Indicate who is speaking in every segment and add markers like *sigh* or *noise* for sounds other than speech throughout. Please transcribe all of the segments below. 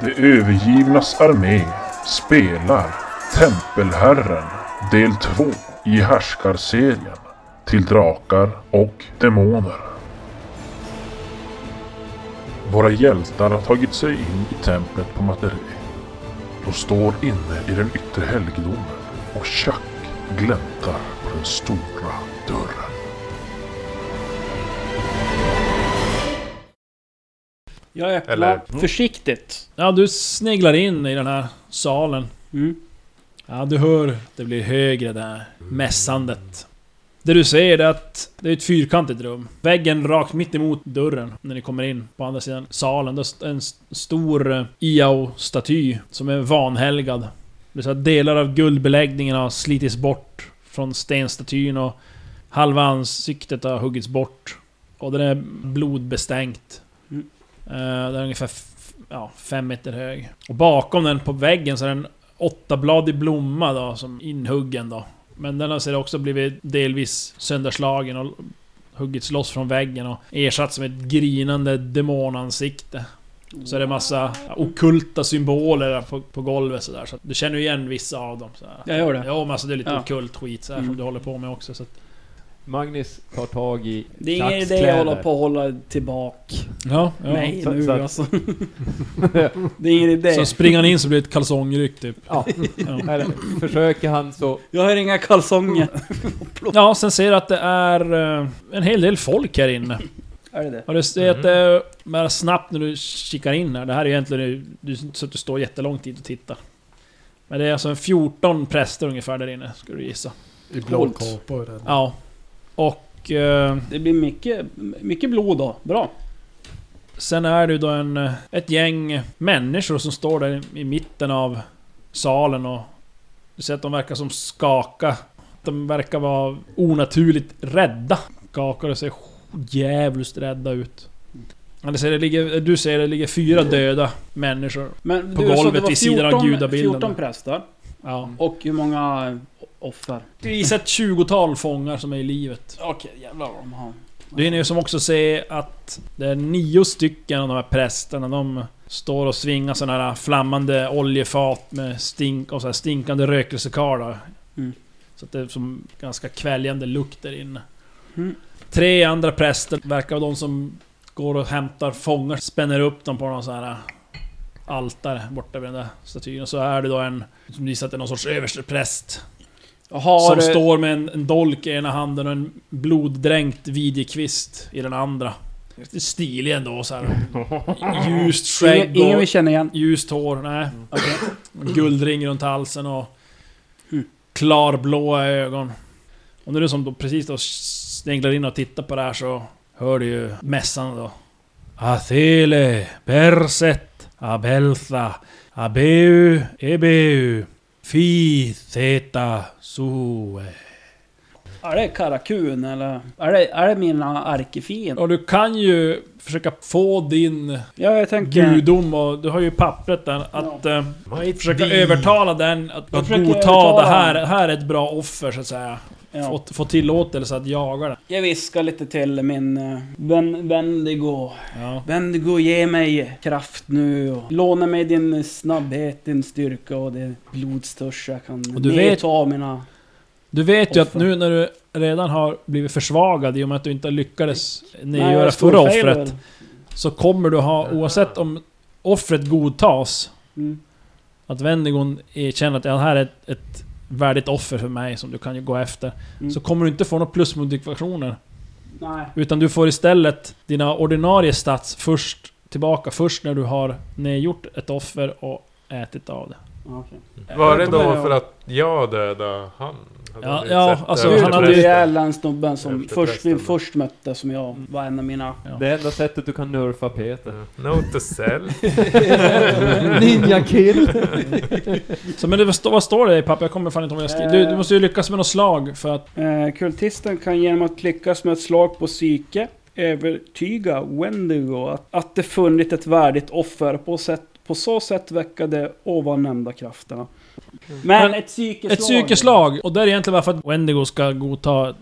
Speaker 1: De övergivnas armé spelar Tempelherren del 2 i härskarserien till drakar och demoner. Våra hjältar har tagit sig in i templet på Materi. De står inne i den yttre helgedomen och Chuck gläntar på den stora dörren.
Speaker 2: Jag öppnar
Speaker 3: Eller-
Speaker 2: försiktigt.
Speaker 4: Ja, du sneglar in i den här salen.
Speaker 2: Mm.
Speaker 4: Ja, du hör det blir högre det här mässandet. Det du ser är att det är ett fyrkantigt rum. Väggen rakt mitt emot dörren när ni kommer in på andra sidan salen. Där är en st- stor eh, Iao-staty som är vanhelgad. Det är så att delar av guldbeläggningen har slitits bort från stenstatyn och halva ansiktet har huggits bort. Och den är blodbestänkt.
Speaker 2: Mm.
Speaker 4: Eh, Den är ungefär f- ja, fem meter hög. Och bakom den på väggen så är det en åttabladig blomma då, som inhuggen då. Men den har sedan också blivit delvis sönderslagen och huggits loss från väggen och ersatts med ett grinande demonansikte. Så är det massa ja, okulta symboler där på, på golvet sådär. Så att du känner ju igen vissa av dem. Sådär.
Speaker 2: Jag gör det.
Speaker 4: Ja, men alltså det är lite
Speaker 2: Ja.
Speaker 4: ockult skit sådär,
Speaker 2: Mm.
Speaker 4: som du håller på med också. Så att,
Speaker 3: Magnus tar tag i
Speaker 2: Det är ingen
Speaker 3: Chucks
Speaker 2: idé att
Speaker 3: kläder.
Speaker 2: hålla på och hålla tillbaka
Speaker 4: ja, ja.
Speaker 2: mig
Speaker 3: så-
Speaker 2: nu
Speaker 3: så
Speaker 4: *laughs*
Speaker 3: att-
Speaker 2: alltså. det är ingen idé.
Speaker 4: Så springer han in så blir det ett kalsongryck typ.
Speaker 3: Ja. Eller, försöker han så...
Speaker 2: Jag har inga kalsonger.
Speaker 4: Ja, sen ser du att det är eh, en hel del folk här inne.
Speaker 2: Är det det?
Speaker 4: Och du ser att det är snabbt när du kikar in här. Det här är egentligen eh, du, så att du står jättelång tid och tittar. Men det är alltså en 14 präster ungefär där inne, skulle du gissa.
Speaker 5: I blå
Speaker 2: Coolt.
Speaker 5: kåpa och den.
Speaker 4: Ja. Och... Eh,
Speaker 2: Det blir mycket, mycket blod då. Bra.
Speaker 4: sen är det ju då en, eh, ett gäng människor som står där i mitten av salen och... Du ser att de verkar som skaka. De verkar vara onaturligt rädda. Skakar och ser djävulskt rädda ut. Men du ser, det ligger, du ser det ligger fyra döda människor
Speaker 2: Men
Speaker 4: På
Speaker 2: du sa att det
Speaker 4: golvet
Speaker 2: var
Speaker 4: vid sidan av
Speaker 2: 14
Speaker 4: gudabilden.
Speaker 2: 14 präster.
Speaker 4: Ja.
Speaker 2: Och hur många offer?
Speaker 4: Du gissar ett tjugotal fångar som är i livet.
Speaker 2: Okej, jävlar vad de har.
Speaker 4: Du hinner ju som också se att det är nio stycken av de här prästerna, de står och svingar sådana här flammande oljefat med stink och så här stinkande rökelsekarlar.
Speaker 2: Mm.
Speaker 4: Så att det är som ganska kväljande lukt där inne.
Speaker 2: Mm.
Speaker 4: Tre andra präster verkar vara de som går och hämtar fångar, spänner upp dem på någon sån här altare borta vid den där statyn. Och så är det då en, som gissar att det är någon sorts överstepräst
Speaker 2: Har,
Speaker 4: som
Speaker 2: eh,
Speaker 4: står med en, en dolk i ena handen och en bloddränkt vidjekvist i den andra. Lite Stilig ändå så här. Ljust
Speaker 2: ingen,
Speaker 4: skägg
Speaker 2: ingen vi
Speaker 4: och
Speaker 2: känner igen.
Speaker 4: ljust hår. Nej. Guldring runt halsen och
Speaker 2: Mm.
Speaker 4: klarblåa ögon. Och när du som då precis då sneglar in och tittar på det här så hör du ju mässan då. Athele, Berset, Abeltha, Abeu, Ebeu, Fi, Theta, Sue.
Speaker 2: Är det Karakun eller? Är det, är det mina ärkefiender?
Speaker 4: Och du kan ju försöka få din
Speaker 2: Ja, jag tänker...
Speaker 4: gudom och du har ju pappret där att eh,
Speaker 5: Might
Speaker 4: försöka
Speaker 5: be.
Speaker 4: övertala den att,
Speaker 2: Jag
Speaker 4: att
Speaker 2: försöker
Speaker 4: godta
Speaker 2: övertala
Speaker 4: det här.
Speaker 2: den.
Speaker 4: Här är ett bra offer så att säga.
Speaker 2: Ja.
Speaker 4: Få, få tillåtelse att jaga den.
Speaker 2: Jag viskar lite till min eh, vän, Vendigo.
Speaker 4: Ja.
Speaker 2: Vendigo, ge mig kraft nu. Och låna mig din snabbhet, din styrka och det blodstörst jag kan
Speaker 4: Och du vet-
Speaker 2: nedta mina...
Speaker 4: Du vet ju att
Speaker 2: Offer.
Speaker 4: nu när du redan har blivit försvagad i och med att du inte lyckades
Speaker 2: Nej, jag
Speaker 4: nedgöra förra
Speaker 2: storfailar.
Speaker 4: offret. Så kommer du ha, oavsett om offret godtas,
Speaker 2: Mm.
Speaker 4: att Wendigon erkänner att det här är ett, ett värdigt offer för mig som du kan ju gå efter.
Speaker 2: Mm.
Speaker 4: Så kommer du inte få några plusmodifikationer.
Speaker 2: Nej.
Speaker 4: Utan du får istället dina ordinarie stats först tillbaka, först när du har nedgjort ett offer och ätit av det.
Speaker 2: Ja, okej.
Speaker 3: Var Mm. det
Speaker 2: Jag tar med
Speaker 3: då
Speaker 2: det.
Speaker 3: för att jag dödade han? Hade
Speaker 4: Ja,
Speaker 3: blivit
Speaker 4: ja,
Speaker 3: sett
Speaker 4: alltså,
Speaker 3: över
Speaker 4: han
Speaker 2: Han hade
Speaker 4: hade ju-
Speaker 2: ju
Speaker 3: resten.
Speaker 2: ihjäl den snubben som
Speaker 3: Efter Mm.
Speaker 2: först, vi
Speaker 3: prästen.
Speaker 2: först mötte som jag var en av mina...
Speaker 3: Det enda sättet du kan nerfa Peter.
Speaker 6: Note to self.
Speaker 3: *laughs* Ninja kill!
Speaker 4: Så men det, vad står- vad står det i papper? Jag kommer fan inte ihåg vad jag skrev. Du, du måste ju lyckas med något slag för att...
Speaker 2: Eh, kultisten kan genom att lyckas med ett slag på psyke övertyga Wendigo att, att det funnit ett värdigt offer på, sätt, på så sätt väcka de ovan nämnda krafterna. Men
Speaker 4: Mm. Men
Speaker 2: ett psykeslag.
Speaker 4: Ett psykeslag! Och det är egentligen varför att Wendigo ska godta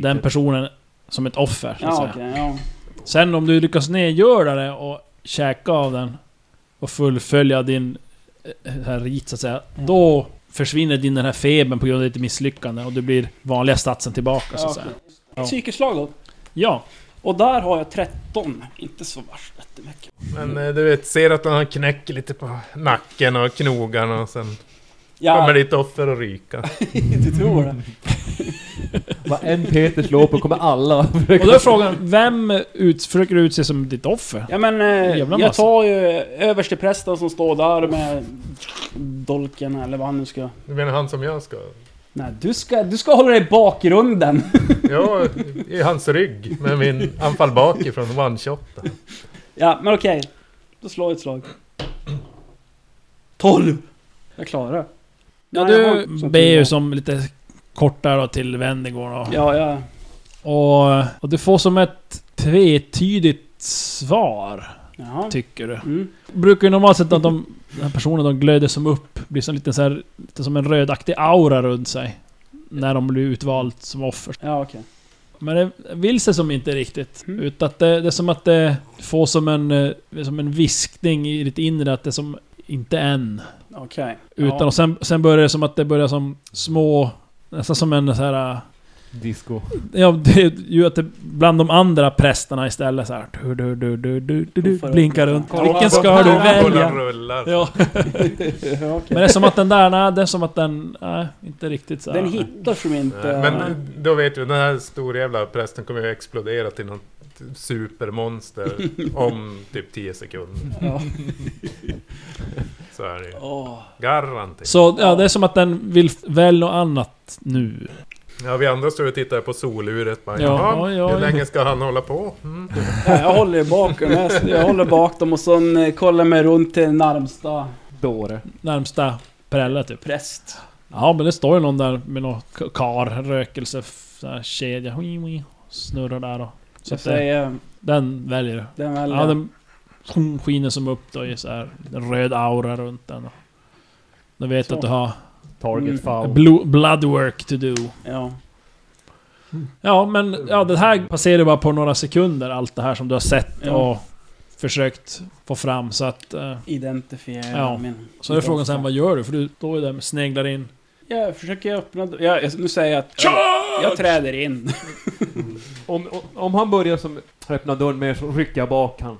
Speaker 4: den personen som ett offer. Så att
Speaker 2: Ja,
Speaker 4: säga.
Speaker 2: okej, ja.
Speaker 4: Sen om du lyckas nedgöra det och käka av den och fullfölja din eh, här rit så att säga.
Speaker 2: Mm.
Speaker 4: Då försvinner din den här febern på grund av ditt misslyckande och du blir vanliga statsen tillbaka så att säga. Ja.
Speaker 2: Psykeslag då.
Speaker 4: Ja.
Speaker 2: Och där har jag 13. Inte så värst jättemycket.
Speaker 5: Men eh, du vet, ser att han knäcker lite på nacken och knogarna och sen kommer
Speaker 2: Ja,
Speaker 5: ditt offer och ryka.
Speaker 2: *laughs* du tror det.
Speaker 3: Vad en Peter slår på kommer alla
Speaker 4: Och då är frågan, vem ut, försöker du utse som ditt offer?
Speaker 2: Ja men eh,
Speaker 4: Jävla
Speaker 2: jag
Speaker 4: massa.
Speaker 2: tar ju översteprästen som står där med dolken eller vad han nu ska...
Speaker 5: Du menar han som jag ska...
Speaker 2: Nej, du ska, du ska hålla dig i bakgrunden. *laughs*
Speaker 5: Ja, i hans rygg med min anfall bakifrån one-shotta.
Speaker 2: Ja, men okej. Då slår jag ett slag. 12! Jag klarar det.
Speaker 4: Ja,
Speaker 2: Nej, jag har
Speaker 4: du
Speaker 2: inte sånt
Speaker 4: ber ju
Speaker 2: innan.
Speaker 4: som lite kortare och till Wendigård och,
Speaker 2: Ja, ja.
Speaker 4: och... Och du får som ett tvetydigt svar,
Speaker 2: Jaha.
Speaker 4: tycker du.
Speaker 2: Mm.
Speaker 4: Brukar ju normalt sett att de... Den här personen de glöder som upp, blir som lite så här, lite som en rödaktig aura runt sig. När de blir utvald som offer.
Speaker 2: Ja, okej.
Speaker 4: Men det vill sig som inte riktigt.
Speaker 2: Mm.
Speaker 4: Utan att det, det är som att det får som en, eh, som en viskning i ditt inre att det är som... Inte än.
Speaker 2: Okej.
Speaker 4: Utan
Speaker 2: Ja.
Speaker 4: och sen, sen börjar det som att det börjar som små... Nästan som en så här... äh,
Speaker 3: Disco.
Speaker 4: Ja, det, är ju att det bland de andra prästerna istället så här... Du, du, du, du, du, du, du, blinkar runt. Vilken ska du
Speaker 5: Bollen
Speaker 4: välja?
Speaker 5: rullar.
Speaker 4: Ja.
Speaker 2: Ja, okej.
Speaker 4: Men det är som att den där, nej, det är som att den... Nej, inte riktigt så här.
Speaker 2: Den hittar som inte...
Speaker 5: Nej, Eh, Men då vet du, den här stora jävla prästen kommer ju explodera till något supermonster om typ 10 sekunder.
Speaker 2: Ja.
Speaker 5: Så är det ju.
Speaker 2: Åh.
Speaker 5: Garanterat.
Speaker 4: Så ja, det är som att den vill välja något annat nu.
Speaker 5: Ja, vi andra står och tittar på soluret bara,
Speaker 4: Ja,
Speaker 5: Jaha,
Speaker 4: ja, ja.
Speaker 5: hur länge ska han hålla på? Mm.
Speaker 2: Nej, jag håller ju bak dem. Jag, jag håller bak dem och sen eh, kollar mig runt till närmsta
Speaker 3: Dåre.
Speaker 4: Närmsta prälle typ.
Speaker 2: präst.
Speaker 4: Ja, men det står ju någon där med någon k- kar, rökelse, f- så här, kedja. hui, hui, Snurrar där och... Så
Speaker 2: Så jag
Speaker 4: att det,
Speaker 2: säger...
Speaker 4: den väljer du.
Speaker 2: Den väljer.
Speaker 4: Ja, den hon skiner som upp då i så här en röd aura runt den. Du vet
Speaker 2: Så.
Speaker 4: att du har
Speaker 3: Target
Speaker 2: Mm.
Speaker 3: foul.
Speaker 4: blue, blood work to do.
Speaker 2: ja.
Speaker 4: Ja, men ja, det här passerar ju bara på några sekunder, allt det här som du har sett
Speaker 2: Ja.
Speaker 4: och försökt få fram. Så att... eh,
Speaker 2: Identifiera
Speaker 4: Ja.
Speaker 2: min...
Speaker 4: Så är frågan sen, vad gör du? För du står ju där och sneglar in.
Speaker 2: Jag försöker öppna... d- Ja, jag- nu säger jag att... Jag, jag träder in.
Speaker 3: Om, om, om han börjar som öppna dörren mer så rycker jag bak han.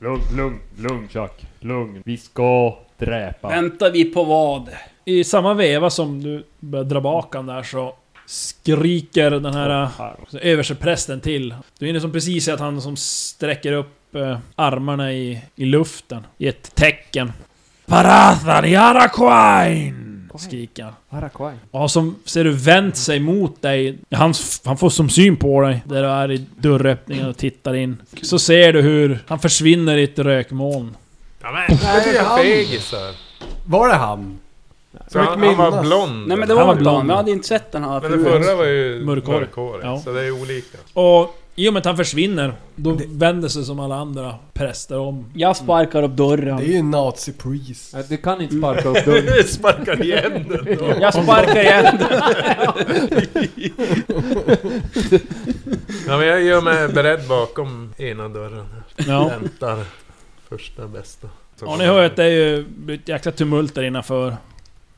Speaker 3: Lugn, lugn, lugn Chuck. Lugn. Vi ska dräpa.
Speaker 2: Väntar vi på vad?
Speaker 5: Mm.
Speaker 4: I samma veva som du börjar dra bak han där så skriker den här eh,
Speaker 3: Här.
Speaker 4: Så översteprästen till. Du hinner som precis se att han som sträcker upp eh, armarna i, i luften i ett tecken. Parathan Yaraquain! Skriker han.
Speaker 3: Harakwai.
Speaker 4: Och han som ser du vänt sig mot dig. Han, f- han får som syn på dig där du är i dörröppningen och tittar in. Så ser du hur han försvinner i ett rökmoln.
Speaker 5: Ja, men, det är
Speaker 6: han.
Speaker 5: fegisar.
Speaker 6: Var det han?
Speaker 5: Så
Speaker 6: Jag
Speaker 5: han, han
Speaker 6: minns.
Speaker 5: var blond.
Speaker 2: Nej men det var,
Speaker 4: Han var
Speaker 2: var blond.
Speaker 4: blond.
Speaker 2: Jag hade inte sett den här
Speaker 5: Men den
Speaker 2: förut.
Speaker 5: förra var ju
Speaker 4: Mörkhårig.
Speaker 5: mörkhårig.
Speaker 4: Ja.
Speaker 5: Så det är olika.
Speaker 4: Och i och med att han försvinner, då vänder sig som alla andra präster om.
Speaker 2: Jag sparkar upp
Speaker 6: Det är
Speaker 2: dörren.
Speaker 6: ju en nazi-priest.
Speaker 3: Nej, Du kan inte
Speaker 2: *laughs*
Speaker 3: sparka upp dörren.
Speaker 5: Sparkade igen den då.
Speaker 2: Jag sparkar igen.
Speaker 5: Ja, men jag gör mig beredd bakom ena dörren.
Speaker 4: *laughs* Ja.
Speaker 5: Väntar första bästa.
Speaker 4: Ja, ni hör ju att det är ju ett jäkla tumult där innanför.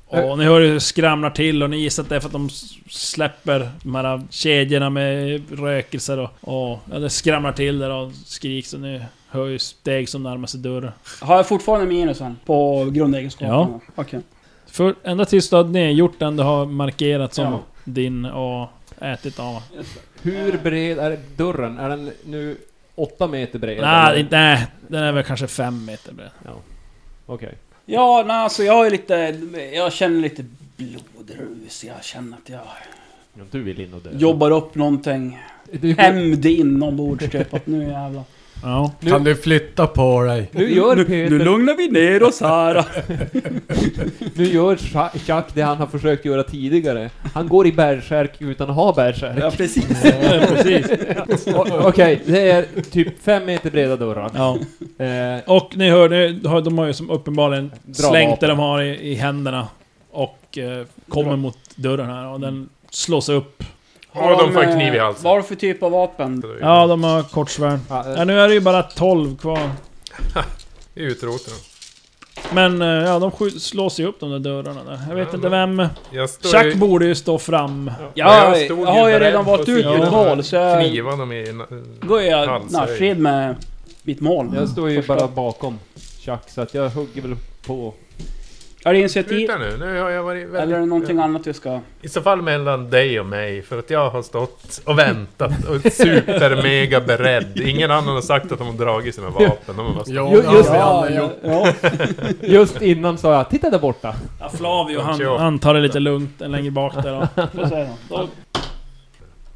Speaker 4: Och ni hör ju hur det skramlar till och ni gissar att det är för att de s- släpper de här kedjorna med rökelser och... och ja, det skramlar till där och skriks och ni hör ju steg som närmar sig dörren.
Speaker 2: Har jag fortfarande minusen på grundegenskaperna? Ja. Okej.
Speaker 4: För ända tills du har nedgjort den du har markerat som
Speaker 2: Ja.
Speaker 4: din och ätit av.
Speaker 3: Hur bred är dörren? Är den nu åtta meter bred?
Speaker 4: Nej,
Speaker 3: Eller?
Speaker 4: inte- nej, den är väl kanske fem meter bred.
Speaker 3: Okej.
Speaker 2: Ja, nej alltså jag är lite... Jag känner lite blodrus. Jag känner att jag
Speaker 3: Ja, Du vill in och dö.
Speaker 2: jobbar upp någonting.
Speaker 3: Du,
Speaker 2: Hämnd inombords typ. Att nu jävlar.
Speaker 4: Ja.
Speaker 3: Nu-
Speaker 6: Kan du flytta på dig?
Speaker 3: nu gör
Speaker 2: Nu,
Speaker 3: Peter...
Speaker 2: nu lugnar vi ner oss här.
Speaker 3: Nu gör Cha- Chuck det han har försökt göra tidigare. Han går i bärsärk utan att ha bärsärk.
Speaker 2: Ja, precis.
Speaker 4: Precis.
Speaker 3: O- Okej, det är typ fem meter breda dörrar.
Speaker 4: Ja.
Speaker 3: Eh,
Speaker 4: Och ni hör, ni har- de har ju som uppenbarligen
Speaker 3: Dra
Speaker 4: slängt det
Speaker 3: vapen.
Speaker 4: de har i, i händerna. Och eh, kommer mot dörren här och den slås upp.
Speaker 5: Ja, de får en kniv i
Speaker 2: eh,
Speaker 5: halsen.
Speaker 2: Vad har de för typ av vapen?
Speaker 4: Ja, de har kortsvärn.
Speaker 3: ja, eh,
Speaker 4: Ja, nu är det ju bara 12 kvar.
Speaker 5: Utrotar dem.
Speaker 4: Men eh, ja, de skj- slår sig upp de där dörrarna där. Jag vet
Speaker 5: Ja,
Speaker 4: inte vem...
Speaker 5: Jag står
Speaker 4: Chuck
Speaker 5: ju-
Speaker 4: borde ju stå fram.
Speaker 2: Ja,
Speaker 5: Jag
Speaker 2: jag,
Speaker 5: stod
Speaker 2: har
Speaker 5: ju
Speaker 2: ju
Speaker 5: beredd
Speaker 2: redan
Speaker 5: på
Speaker 2: valt ut
Speaker 5: sidan.
Speaker 2: mitt mål så jag...
Speaker 5: knivarna med i...
Speaker 2: Då är jag
Speaker 5: Halsar.
Speaker 2: närstrid med mitt mål.
Speaker 3: Jag står ju
Speaker 2: Första-
Speaker 3: bara bakom Chuck, så att jag hugger väl på...
Speaker 2: Är det initiativ?
Speaker 5: Sluta nu, nu har jag varit väldigt...
Speaker 2: Eller är det någonting annat vi ska...
Speaker 5: I så fall mellan dig och mig, för att jag har stått och väntat och är super mega beredd. Ingen annan har sagt att de har dragit sina vapen. De har bara
Speaker 6: Ja,
Speaker 3: Ju-
Speaker 6: det har
Speaker 3: just-
Speaker 6: vi alla
Speaker 2: ja,
Speaker 6: gjort.
Speaker 2: ja.
Speaker 3: Just innan sa jag titta där borta.
Speaker 4: Ja, Flavio han,
Speaker 5: Ja.
Speaker 4: han tar det lite lugnt en längre bak där då.
Speaker 2: Vad säger han? Då-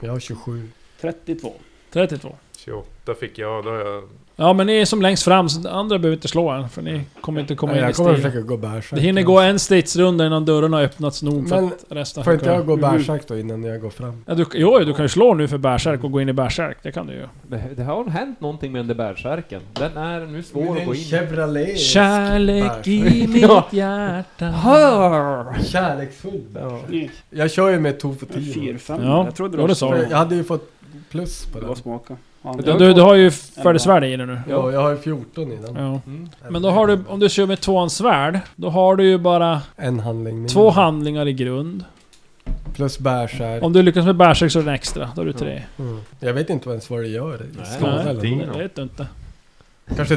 Speaker 6: Jag har 27.
Speaker 2: 32.
Speaker 4: 32.
Speaker 5: 28 fick jag, då har jag...
Speaker 4: Ja men ni är som längst fram så de andra behöver inte slå än för ni kommer inte komma
Speaker 6: Nej,
Speaker 4: in i
Speaker 6: jag kommer
Speaker 4: stilen.
Speaker 6: försöka gå bärsärk.
Speaker 4: Det hinner gå en stridsrunda innan dörrarna har öppnats nog för
Speaker 6: Men
Speaker 4: att resten
Speaker 6: Får
Speaker 4: ska
Speaker 6: inte jag
Speaker 4: kunna...
Speaker 6: gå bärsärk då innan jag går fram?
Speaker 4: Ja, du, jo, du kan ju slå nu för bärsärk och gå in i bärsärk. Det kan du ju.
Speaker 3: Det, det har hänt någonting med den där bärsärken. Den är nu svår att gå in i.
Speaker 6: Chevrolet.
Speaker 4: Kärlek i
Speaker 6: *laughs*
Speaker 3: Ja.
Speaker 4: mitt hjärta.
Speaker 3: Hör!
Speaker 6: Kärleksfull
Speaker 3: Ja.
Speaker 6: bärsärk. Jag kör ju med tog för
Speaker 2: 4,
Speaker 6: tio.
Speaker 2: 5.
Speaker 4: Ja,
Speaker 2: jag trodde
Speaker 4: ja, det sa
Speaker 6: För
Speaker 4: du.
Speaker 6: Jag hade ju fått plus på
Speaker 2: Det var
Speaker 6: den.
Speaker 2: smaka.
Speaker 4: Du, du, du har ju färdigsvärd i det nu.
Speaker 6: Ja, jag har ju 14 i den.
Speaker 4: Ja.
Speaker 3: Mm.
Speaker 4: Men då har du, om du kör med tvåans svärd, då har du ju bara
Speaker 6: En handling mindre.
Speaker 4: två handlingar i grund.
Speaker 6: Plus bärsärk.
Speaker 4: Om du lyckas med bärsärk så är det en extra, då har du tre.
Speaker 6: Mm. Jag vet inte ens vad det gör. i
Speaker 4: Nej.
Speaker 6: Skada eller
Speaker 4: Det
Speaker 6: något.
Speaker 4: vet du inte.
Speaker 6: Kanske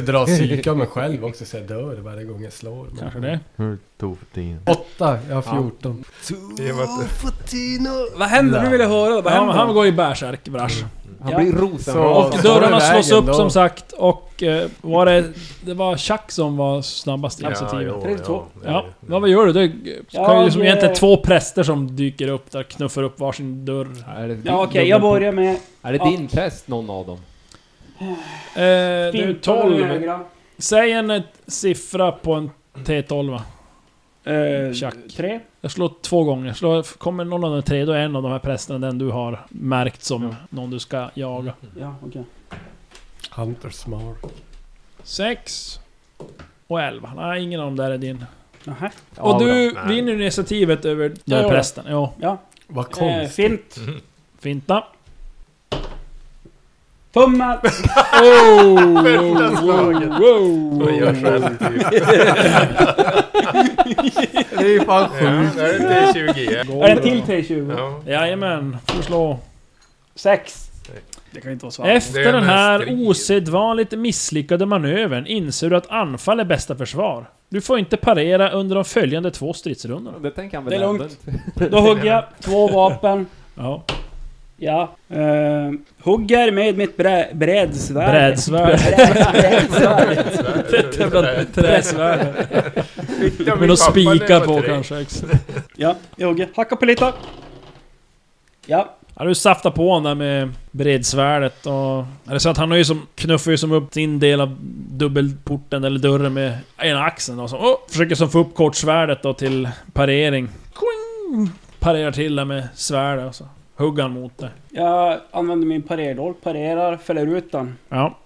Speaker 4: *laughs*
Speaker 6: dra psyke av mig själv också så jag dör varje gång jag slår. Men-
Speaker 4: Kanske det.
Speaker 6: Åtta, jag har 14.
Speaker 5: I och med att-
Speaker 2: Vad händer? Nu vill jag höra. Vad
Speaker 4: Ja, men
Speaker 2: händer?
Speaker 4: han går i bärsärk, brasch.
Speaker 3: Han
Speaker 2: Ja.
Speaker 3: blir
Speaker 6: Så-
Speaker 3: rosenrasande.
Speaker 4: Och
Speaker 6: så var
Speaker 4: dörrarna
Speaker 6: det
Speaker 4: slås
Speaker 6: vägen
Speaker 4: upp
Speaker 6: då.
Speaker 4: som sagt och eh, var det, det var Chuck som var snabbast i
Speaker 5: Ja,
Speaker 4: initiativet.
Speaker 5: jo,
Speaker 2: 32.
Speaker 5: ja.
Speaker 4: Ja, ja, vad gör du? Det kan ju
Speaker 2: Ja,
Speaker 4: liksom
Speaker 2: det-
Speaker 4: egentligen två präster som dyker upp där, knuffar upp varsin dörr. Eh,
Speaker 3: Är det
Speaker 2: Ja, okej. jag börjar med...
Speaker 3: Är det
Speaker 2: Ja.
Speaker 3: din präst, någon av dem?
Speaker 4: Eh, det är
Speaker 2: fintan och
Speaker 4: 12.
Speaker 2: högra.
Speaker 4: Säg en eh, siffra på en T12.
Speaker 2: Eh,
Speaker 4: Tjack.
Speaker 2: tre.
Speaker 4: Jag slår två gånger. Slår, kommer någon av de tre, då är en av de här prästerna den du har märkt som
Speaker 3: Ja.
Speaker 4: någon du ska jaga.
Speaker 2: Ja, okej.
Speaker 6: Hunter smart.
Speaker 4: Sex. Och elva. Nej, ingen av dem där är din.
Speaker 2: Nähä.
Speaker 4: Och du
Speaker 5: Nej.
Speaker 4: vinner initiativet över den här
Speaker 2: Ja.
Speaker 4: prästen. Ja,
Speaker 2: Ja.
Speaker 6: Vad
Speaker 2: Eh,
Speaker 6: konstigt.
Speaker 2: fint.
Speaker 4: finta.
Speaker 5: *laughs*
Speaker 2: Tummar!
Speaker 5: Värsta slaget! Och
Speaker 4: *laughs*
Speaker 5: jag själv typ.
Speaker 6: det är ju fan
Speaker 5: Ja, det är inte 20 ja.
Speaker 2: Är det till T20?
Speaker 5: Ja,
Speaker 4: Jajamän, får slå.
Speaker 2: Sex. Det kan ju inte vara så. här.
Speaker 5: Det
Speaker 4: Efter
Speaker 5: är
Speaker 4: den
Speaker 5: mest
Speaker 4: här
Speaker 5: rigid.
Speaker 4: osedvanligt misslyckade manövern inser du att anfall är bästa försvar. Du får inte parera under de följande två stridsrundorna.
Speaker 3: Det tänker han
Speaker 2: Det
Speaker 3: väl
Speaker 2: är
Speaker 3: ändå
Speaker 2: lugnt.
Speaker 3: inte.
Speaker 2: Då hugger jag. Två vapen.
Speaker 4: Ja.
Speaker 2: Ja. Eh, hugger med mitt brä- brädsvärd.
Speaker 4: Brädsvärd.
Speaker 2: Brä- brädsvärd.
Speaker 4: *laughs*
Speaker 5: Fett jävla...
Speaker 4: Träsvärd. Med några spikar på kanske.
Speaker 2: Ja, jag hugger. Hacka på lite. Ja.
Speaker 4: Ja, du saftar på honom där med bredsvärdet och... Eller så att han har ju som, knuffar ju som upp sin del av dubbelporten eller dörren med ena axeln och så... Oh, försöker som få upp kortsvärdet då till parering. Koing! Parerar till där med svärdet och så hugger han mot det.
Speaker 2: Jag använder min parerdol. Parerar, fäller ut den.
Speaker 4: Ja.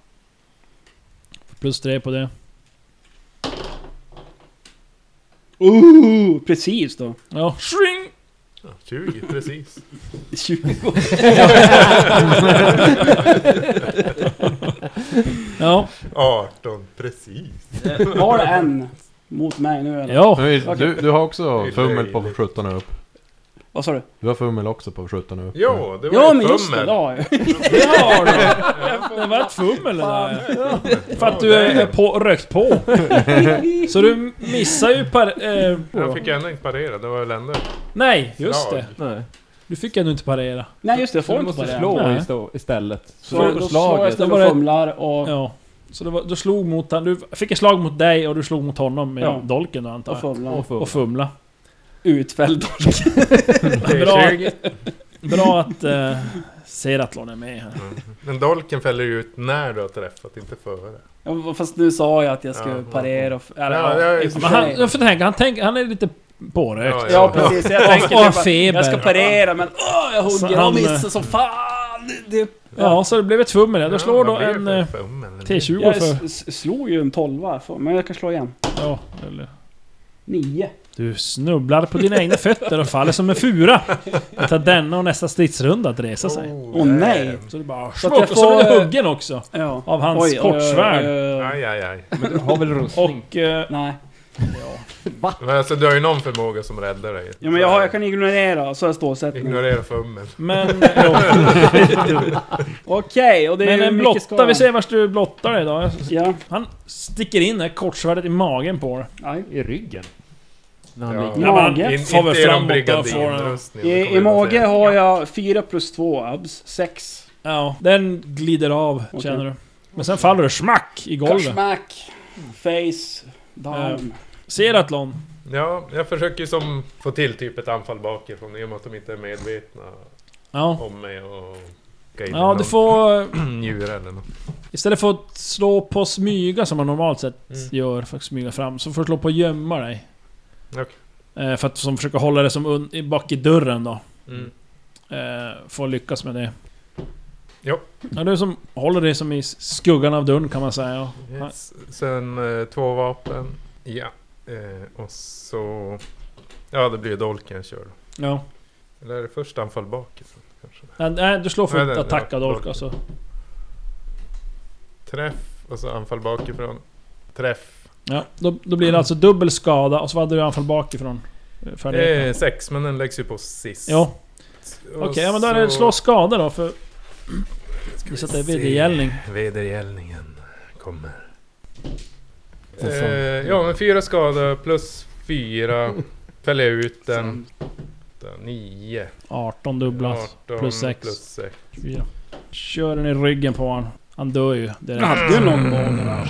Speaker 4: Plus tre på det.
Speaker 2: Ooh, Uh, precis *laughs* då.
Speaker 4: Ja, shring!
Speaker 5: 20, precis.
Speaker 2: 20.
Speaker 4: Ja,
Speaker 5: 18, precis.
Speaker 2: Var det en mot mig nu eller?
Speaker 4: ja.
Speaker 7: Nu är- Du, du har också
Speaker 5: Det är
Speaker 7: fummel på
Speaker 5: löjligt.
Speaker 7: 17 och upp.
Speaker 2: Vad sa du?
Speaker 7: Du har fummel också på 17 och upp.
Speaker 5: Ja, det var
Speaker 2: Ja
Speaker 5: ju
Speaker 2: men just det,
Speaker 5: fummel.
Speaker 2: det har jag
Speaker 4: Det har du! Det var ett fummel det där. För att du är på, rökt på. Så du missar ju par... Eh,
Speaker 5: Jag fick ändå inte parera, det var
Speaker 4: *laughs*
Speaker 5: väl ändå...
Speaker 4: nej, just det.
Speaker 3: Nej.
Speaker 4: Du fick ändå inte parera.
Speaker 2: Nej just det, jag
Speaker 3: Så
Speaker 2: får
Speaker 3: du
Speaker 2: inte
Speaker 3: måste
Speaker 2: parera.
Speaker 3: slå
Speaker 4: Nej.
Speaker 3: istå- istället.
Speaker 2: Så
Speaker 3: Så
Speaker 2: då slår jag
Speaker 3: slaget.
Speaker 2: istället
Speaker 4: var
Speaker 2: och
Speaker 4: det-
Speaker 2: fumlar och...
Speaker 4: Ja. Så det var, du slog mot han, du fick ett slag mot dig och du slog mot honom med
Speaker 2: Ja.
Speaker 4: dolken då antar
Speaker 2: Och
Speaker 4: jag.
Speaker 2: fumlar.
Speaker 3: Och full.
Speaker 4: Och fumla.
Speaker 2: Utfälld.
Speaker 4: Bra,
Speaker 5: Bra.
Speaker 4: bra att eh, Seratlon är med här.
Speaker 5: Men dolken fäller ju ut när du har träffat, inte före.
Speaker 2: Ja, Fast nu sa jag att jag skulle
Speaker 5: Ja, ja.
Speaker 2: parera och... Eller,
Speaker 5: Ja,
Speaker 2: ja,
Speaker 5: ja,
Speaker 2: i och
Speaker 5: just
Speaker 2: för
Speaker 4: Men han,
Speaker 2: sig.
Speaker 4: jag får tänka, han, tänk, han är lite pårökt.
Speaker 5: Ja,
Speaker 2: Ja precis, jag tänker typ
Speaker 4: Och- och
Speaker 2: att
Speaker 4: feber.
Speaker 2: jag ska parera men åh, jag
Speaker 4: Så
Speaker 2: hugger
Speaker 4: han,
Speaker 2: och missar som fan! Det,
Speaker 4: Ja, så det blev ett fummel. Ja. Du slår då en eh, T20
Speaker 2: jag
Speaker 4: för...
Speaker 2: s- s- slog ju en tolva, för- men jag kan slå igen.
Speaker 4: Ja, eller.
Speaker 2: Nio.
Speaker 4: Du snubblar på dina egna fötter och faller som en fura. Det tar denna och nästa stridsrunda att resa sig.
Speaker 2: Åh, nej.
Speaker 4: Så det bara...
Speaker 2: Oh. Så att jag
Speaker 4: och så blir
Speaker 2: får,
Speaker 4: du
Speaker 2: eh,
Speaker 4: huggen också.
Speaker 2: Ja.
Speaker 4: Av hans
Speaker 2: Oj,
Speaker 4: kortsvärd.
Speaker 2: eh, eh,
Speaker 5: Aj, aj, aj.
Speaker 3: Men du har väl rustning?
Speaker 4: Och... Eh,
Speaker 2: Nej.
Speaker 3: Va?
Speaker 5: Men alltså, du har ju någon förmåga som räddar dig.
Speaker 2: Ja men jag, har, jag kan ignorera, så är stålsättningen.
Speaker 5: Ignorera fummen.
Speaker 2: *laughs*
Speaker 4: Men... jo.
Speaker 2: Okej, och det är
Speaker 4: Men
Speaker 2: ju
Speaker 4: en
Speaker 2: mycket
Speaker 4: blotta,
Speaker 2: skada.
Speaker 4: vi ser vart du blottar dig då.
Speaker 2: Ja,
Speaker 4: Han sticker in det här kortsvärdet i magen på dig.
Speaker 2: nej.
Speaker 3: I ryggen? När han
Speaker 5: Ja.
Speaker 3: ligger.
Speaker 4: Ja, men
Speaker 2: Mage?
Speaker 4: han
Speaker 5: In,
Speaker 4: far väl
Speaker 5: inte genom
Speaker 4: framåt där får
Speaker 5: brigandinrustning. det
Speaker 2: I,
Speaker 5: kommer
Speaker 2: i
Speaker 5: jag bara
Speaker 2: mage
Speaker 5: säga.
Speaker 2: har jag 4 plus 2 abs, 6.
Speaker 4: Ja, den glider av
Speaker 2: Okej.
Speaker 4: känner du. Men sen faller du smack i golvet.
Speaker 2: Gorsmack, face, down.
Speaker 4: Seratlon.
Speaker 5: Ja, jag försöker ju som få till typ ett anfall bakifrån i och med att de inte är medvetna
Speaker 4: Ja.
Speaker 5: om mig och...
Speaker 4: Ja, du får...
Speaker 5: *clears throat*
Speaker 4: eh,
Speaker 5: Djur eller något.
Speaker 4: Istället för att slå på smyga som man normalt sett
Speaker 5: Mm.
Speaker 4: gör, för att smyga fram, så får du slå på gömma dig.
Speaker 5: Okej.
Speaker 4: Eh, För att som försöka hålla det som un- i- bak i dörren då.
Speaker 5: Mm.
Speaker 4: Eh, Får lyckas med det.
Speaker 5: Jo.
Speaker 4: Ja, du som håller det som i skuggan av dörren kan man säga.
Speaker 5: Mm. Yes. Sen eh, två vapen. Ja. Eh, och så... Ja, det blir dolken jag kör.
Speaker 4: Ja.
Speaker 5: Eller är det först anfall bakifrån? Kanske.
Speaker 4: Ja, Nej, du slår
Speaker 5: Nej,
Speaker 4: för
Speaker 5: det-
Speaker 4: att
Speaker 5: det-
Speaker 4: attacka
Speaker 5: det-
Speaker 4: dolk alltså.
Speaker 5: Träff och så anfall bakifrån. Träff.
Speaker 4: Ja, då, då blir det alltså dubbel skada och så hade du anfall bakifrån. eh,
Speaker 5: Det
Speaker 4: Färdigheten.
Speaker 5: är sex, men den läggs ju på sist.
Speaker 4: Ja, okej. ja, men då är det slå skada då för... Vi sätter vedergällning.
Speaker 5: Vedergällningen kommer.
Speaker 6: Så
Speaker 5: Eh,
Speaker 6: som-
Speaker 5: ja, men fyra skada plus
Speaker 4: *laughs*
Speaker 5: fyra. Fäller jag ut den. Nio.
Speaker 4: 18 dubblas.
Speaker 5: 18
Speaker 4: plus sex.
Speaker 5: Plus sex.
Speaker 4: 24. Kör den i ryggen på honom. Han dör ju
Speaker 2: Jag
Speaker 4: direkt.
Speaker 2: hade ju någon gång den här.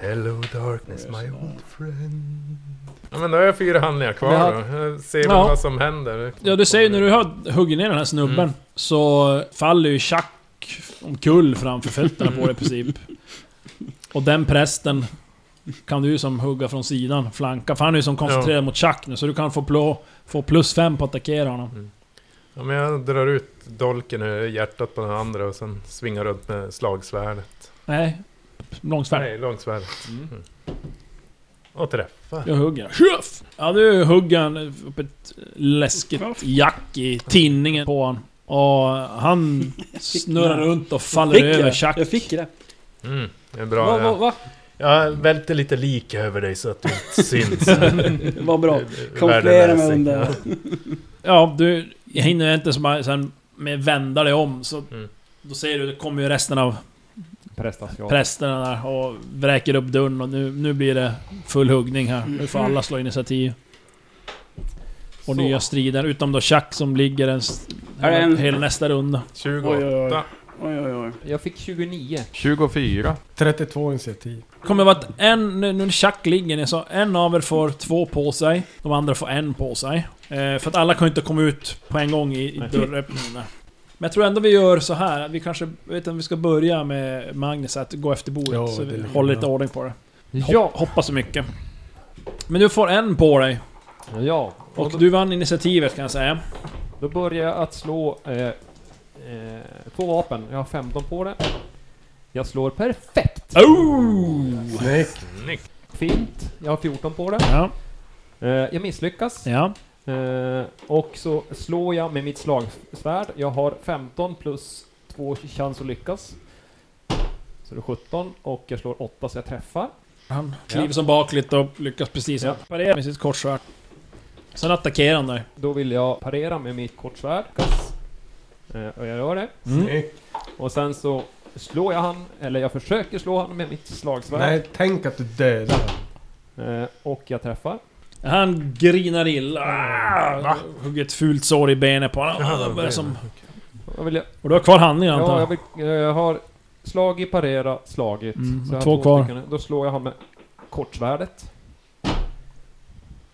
Speaker 5: Hello darkness my old friend. Ja, men då har jag fyra handlingar kvar
Speaker 4: Men han-
Speaker 5: då. Jag ser
Speaker 4: Ja.
Speaker 5: vad som händer.
Speaker 4: Ja, du ser ju när du har huggit ner den här snubben
Speaker 5: Mm.
Speaker 4: så faller ju tjack omkull framför fötterna på dig i princip. Och den prästen kan du ju som hugga från sidan, flanka. För han är ju som koncentrerad mot tjack nu, så du kan få, plå, få plus fem på att attackera honom.
Speaker 5: Ja, men jag drar ut dolken ur hjärtat på den andra och sen svingar runt med slagsvärdet.
Speaker 4: Nej, långsvärd.
Speaker 5: Nej, långsvärdet.
Speaker 3: Mm.
Speaker 5: Mm. Och träffar.
Speaker 4: Jag hugger. Tjuff! Ja, du hugger han upp ett läskigt jack i tinningen på honom. Och han
Speaker 2: *laughs*
Speaker 4: snurrar runt och faller
Speaker 2: Fick
Speaker 4: över
Speaker 2: jag?
Speaker 4: tjack.
Speaker 2: Jag fick det.
Speaker 5: Mm, det är
Speaker 2: Va,
Speaker 5: bra.
Speaker 2: va,
Speaker 5: Ja.
Speaker 2: va?
Speaker 5: Jag välter lite lik över dig så att du inte syns. Eh,
Speaker 2: Vad *laughs* bra. Kamouflera
Speaker 5: Värdelösning.
Speaker 2: mig under.
Speaker 4: Ja, du hinner inte som bara sen med vända dig om så...
Speaker 5: Mm.
Speaker 4: Då ser du, det kommer ju resten av
Speaker 3: Prästaskap.
Speaker 4: prästerna där och vräker upp dörren och nu, nu blir det full huggning här. Nu får alla slå initiativ. Och
Speaker 3: Så.
Speaker 4: nya strider, utom då Chuck som ligger en...
Speaker 2: Är det en-
Speaker 4: Hela nästa runda.
Speaker 5: 28.
Speaker 2: Oj, oj, oj. Oj, oj, oj.
Speaker 3: Jag fick 29.
Speaker 7: 24.
Speaker 6: 32 initiativ.
Speaker 4: Kommer vara att en, nu när Chuck ligger ner så en av er får två på sig. De andra får en på sig. Eh, för att alla kan ju inte komma ut på en gång i, i
Speaker 3: Nej.
Speaker 4: dörröppningen där. Men jag tror ändå vi gör så här. Vi kanske, jag vet inte om vi ska börja med Magnus att gå efter boet.
Speaker 6: Ja,
Speaker 4: så
Speaker 6: det
Speaker 4: vi
Speaker 6: ligger
Speaker 4: håller
Speaker 6: bra.
Speaker 4: lite ordning på det.
Speaker 3: Ja!
Speaker 4: Hoppas så mycket. Men du får en på dig.
Speaker 3: Ja.
Speaker 4: Och du vann initiativet kan jag säga.
Speaker 3: Då börjar jag att slå eh, eh, två vapen. Jag har 15 på det. Jag slår perfekt!
Speaker 4: Oh!
Speaker 6: Snyggt.
Speaker 5: Snyggt.
Speaker 3: Fint. Jag har 14 på det.
Speaker 4: Ja,
Speaker 3: Eh, jag misslyckas.
Speaker 4: ja.
Speaker 3: Eh, och så slår jag med mitt slagsvärd. Jag har 15 plus 2 chans att lyckas. Så det är 17 och jag slår 8 så jag träffar.
Speaker 4: Han kliver som bakligt och lyckas precis
Speaker 3: Ja.
Speaker 4: parera med sitt kortsvärd. Sen attackerar han dig.
Speaker 3: Då vill jag parera med mitt kortsvärd. Lyckas. Eh, och jag gör det.
Speaker 6: Snyggt.
Speaker 3: Och sen så slår jag han, eller jag försöker slå han med mitt slagsvärd.
Speaker 6: Nej, tänk att du dödar honom.
Speaker 3: Eh, och jag träffar.
Speaker 4: Han grinar illa. Ah, Hugger ett fult sår i benet på honom.
Speaker 5: Jaha,
Speaker 4: Ah,
Speaker 5: Mm. det
Speaker 4: börjar
Speaker 5: var
Speaker 4: som,
Speaker 3: Jag vill, jag,
Speaker 4: och du har kvar handlingen antar
Speaker 3: ja, jag,
Speaker 4: jag?
Speaker 3: vill, eh, jag har slagit, parera, slagit.
Speaker 4: Mm,
Speaker 3: jag har
Speaker 4: två kvar.
Speaker 3: stycken. Då slår jag han med kortsvärdet.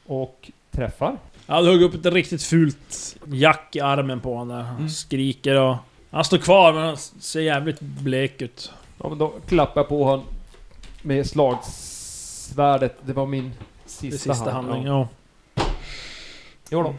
Speaker 3: Och träffar.
Speaker 4: Ja, du hugger upp ett riktigt fult jack i armen på honom där. Han
Speaker 5: Mm.
Speaker 4: skriker och... Han står kvar men han ser jävligt blek ut.
Speaker 3: Ja, men då klappar jag på han med slagsvärdet. Det var min sista,
Speaker 4: Det sista
Speaker 3: hand.
Speaker 4: handlingen,
Speaker 3: Ja.
Speaker 4: ja.
Speaker 3: Jo då.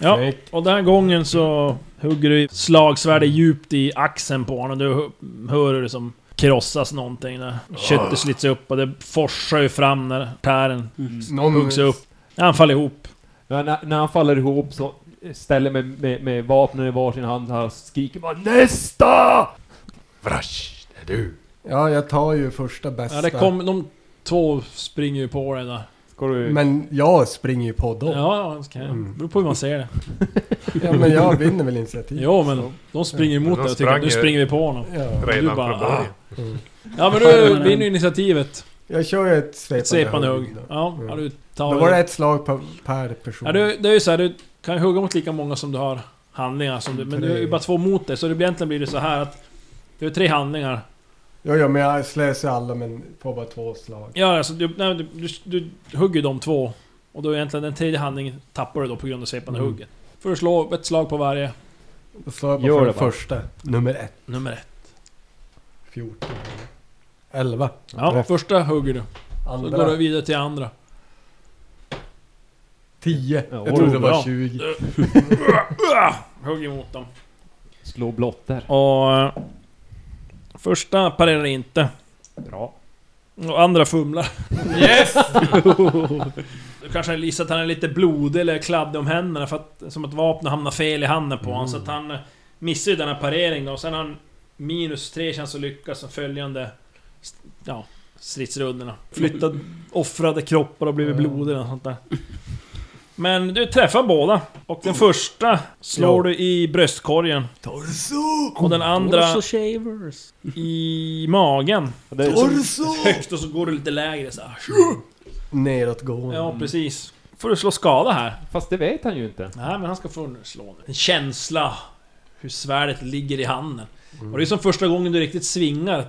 Speaker 4: Ja.
Speaker 6: Snyggt.
Speaker 4: Och den här gången så hugger du slagsvärdet
Speaker 5: Mm.
Speaker 4: djupt i axeln på honom. Du hö- hör hur det som krossas någonting där.
Speaker 5: Ah.
Speaker 4: Köttet slits upp och det forsar ju fram när tären
Speaker 5: Mm.
Speaker 2: Mm.
Speaker 6: Någon...
Speaker 4: huggs upp. Han faller ihop.
Speaker 3: Men när, när han faller ihop så ställer jag mig med, med vapnen i varsin hand här och skriker bara NÄSTA!
Speaker 5: Vrash, det är du.
Speaker 6: Ja, jag tar ju första bästa.
Speaker 4: Ja, det kom, de två springer ju på dig där.
Speaker 3: Ska du...
Speaker 6: Men jag springer ju på dem. Ja.
Speaker 4: Ja, ja, okay.
Speaker 6: Mm.
Speaker 4: beror på hur man ser det.
Speaker 6: men jag vinner väl initiativ.
Speaker 4: Jo men de springer emot
Speaker 5: De
Speaker 4: dig och tycker att nu
Speaker 5: sprang ju-
Speaker 4: springer vi på honom.
Speaker 6: Ja.
Speaker 4: Du
Speaker 5: Redan
Speaker 4: bara, "Ah."
Speaker 5: från början.
Speaker 4: Ja
Speaker 6: *laughs*
Speaker 4: men du vinner ju initiativet.
Speaker 6: Jag kör ju ett svepande,
Speaker 4: Ett svepande
Speaker 6: hugg
Speaker 4: hugg.
Speaker 6: då.
Speaker 4: Ja,
Speaker 6: Mm.
Speaker 4: ja, du
Speaker 6: Då var
Speaker 4: tar...
Speaker 6: det ett slag per, per person.
Speaker 4: Ja, du, det är ju så här, du kan ju hugga mot lika många som du har handlingar som du, men du har ju bara två mot dig så det blir, egentligen blir det så här att... Du har tre handlingar.
Speaker 6: Ja, ja, men jag slösar alla men får bara två slag.
Speaker 4: Ja alltså du, nej, du, du, du hugger ju de två. Och då är egentligen den tredje handlingen tappar du då på grund av svepande
Speaker 6: Mm.
Speaker 4: hugget. Får du slå ett slag på varje.
Speaker 6: Då slår jag
Speaker 3: Gör
Speaker 6: bara för
Speaker 3: det
Speaker 6: den
Speaker 3: bara.
Speaker 6: första. Nummer ett.
Speaker 4: Nummer ett.
Speaker 6: 14. 11.
Speaker 4: Ja,
Speaker 6: Träff.
Speaker 4: första hugger du. Så går du
Speaker 6: Andra.
Speaker 4: vidare till andra.
Speaker 6: 10.
Speaker 3: Ja,
Speaker 6: Jag trodde det
Speaker 3: oj,
Speaker 4: bra.
Speaker 6: var 20.
Speaker 4: *laughs* Hugg emot dem.
Speaker 3: Slå blotter.
Speaker 4: Och... eh, Första parerar inte.
Speaker 3: Bra.
Speaker 4: Och andra fumlar. Yes! du *laughs* kanske har listat att han är lite blodig eller kladdig om händerna för att... Som att vapnet hamnar fel i handen på honom. Så att
Speaker 3: Mm.
Speaker 4: han eh, missar ju den här pareringen och sen har han minus tre chans att lyckas som följande... st- Ja, stridsrundorna. Flyttat offrade kroppar och blivit blodiga och sånt där. Men du träffar båda. Och den första slår du i bröstkorgen.
Speaker 6: Torso!
Speaker 4: Och den andra
Speaker 2: Torso shavers.
Speaker 4: i magen.
Speaker 3: Det är liksom- som,
Speaker 6: Torso!
Speaker 4: *laughs* Högst och så går du lite lägre så här.
Speaker 6: Nedåtgående.
Speaker 2: Mm.
Speaker 4: Ja, precis. Får du slå skada här?
Speaker 3: fast det vet han ju inte.
Speaker 4: Nej, men han ska få slå nu. En känsla hur svärdet ligger i handen.
Speaker 2: Mm.
Speaker 4: Och det är som första gången du riktigt svingar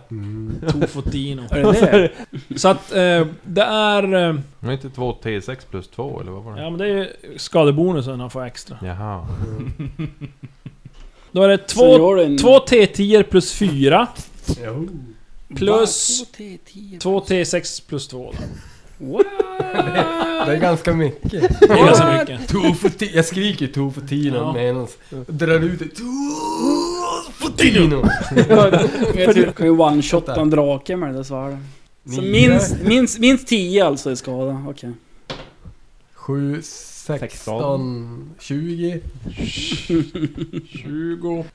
Speaker 4: *laughs* Tofotino.
Speaker 2: Är det det?
Speaker 4: Så att eh, det är... Eh,
Speaker 7: Men inte 2 T6 plus 2 eller vad var det?
Speaker 4: ja men det är ju skadebonusen han får extra.
Speaker 7: Jaha.
Speaker 4: Då är det
Speaker 2: Så
Speaker 4: två,
Speaker 2: gör du en-
Speaker 4: två T10 plus 4
Speaker 6: Jo.
Speaker 4: plus
Speaker 2: Va? Två T10.
Speaker 4: två T6 plus 2
Speaker 2: *laughs*
Speaker 4: då.
Speaker 2: What?
Speaker 6: Det är ganska mycket.
Speaker 4: Det är ganska mycket.
Speaker 6: Tofoti- jag skriker Tofotino
Speaker 4: Ja.
Speaker 6: ja. medan drar ut det. Tofotino!
Speaker 2: *laughs* För du kan ju one-shotta en drake med det där svärdet. Så
Speaker 6: Nio.
Speaker 2: minst, minst, minst 10 alltså i skada, okej.
Speaker 6: 7,
Speaker 3: Sexton.
Speaker 6: 16, 20
Speaker 4: 20...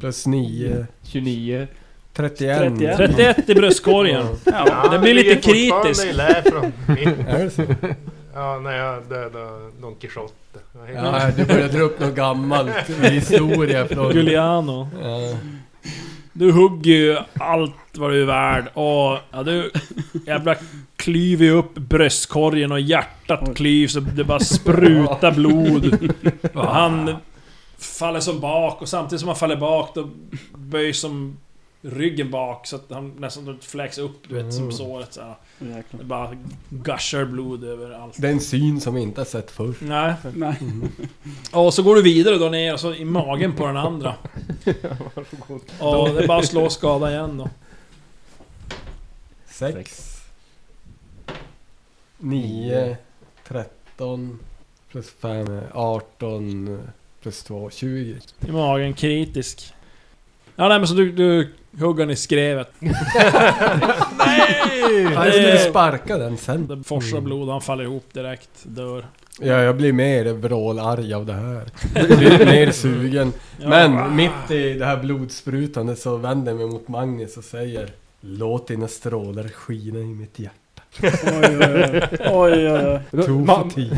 Speaker 6: plus 9,
Speaker 3: 29.
Speaker 6: 31.
Speaker 2: 31.
Speaker 4: 31 i bröstkorgen.
Speaker 2: Ja.
Speaker 4: Den blir
Speaker 5: jag
Speaker 4: lite
Speaker 5: ligger fortfarande
Speaker 4: kritisk.
Speaker 5: i lä från min-
Speaker 6: Är det så?
Speaker 5: Ja, när jag dödade Don Quijote. Vad heter
Speaker 6: Ja, du börjar dra upp något gammalt i historia från...
Speaker 4: Giuliano.
Speaker 6: Ja.
Speaker 4: Du hugger ju allt vad du är värd och ja, du jävla klyver ju upp bröstkorgen och hjärtat klyvs och det bara sprutar blod. Och han faller som bak och samtidigt som han faller bak då böjs som ryggen bak så att han nästan fläks upp du vet som såret så här. Det
Speaker 2: Jäklar.
Speaker 4: bara gushar blod över allt.
Speaker 6: Det är en syn som vi inte har sett förr.
Speaker 4: Nej.
Speaker 2: Nej.
Speaker 4: Och så går du vidare då ner och så i magen på den andra. Och det är bara att slå och skada igen då.
Speaker 6: 6 9 13 plus 5 18 plus 2 20
Speaker 4: I magen, kritisk. Ja nej men så du, du hugger i skrevet.
Speaker 6: Ja, jag skulle sparka den sen.
Speaker 4: Det forsar blod och han faller ihop direkt, dör.
Speaker 6: Ja, jag blir mer vrålarg av
Speaker 4: *laughs*
Speaker 6: det här. Jag blir mer sugen.
Speaker 4: Ja.
Speaker 6: Men mitt i det här blodsprutandet så vänder jag mig mot Magnus och säger Låt dina strålar skina i mitt hjärta.
Speaker 2: Oj, oj, oj. oj, oj, oj.
Speaker 3: Ma-
Speaker 6: Tofotino.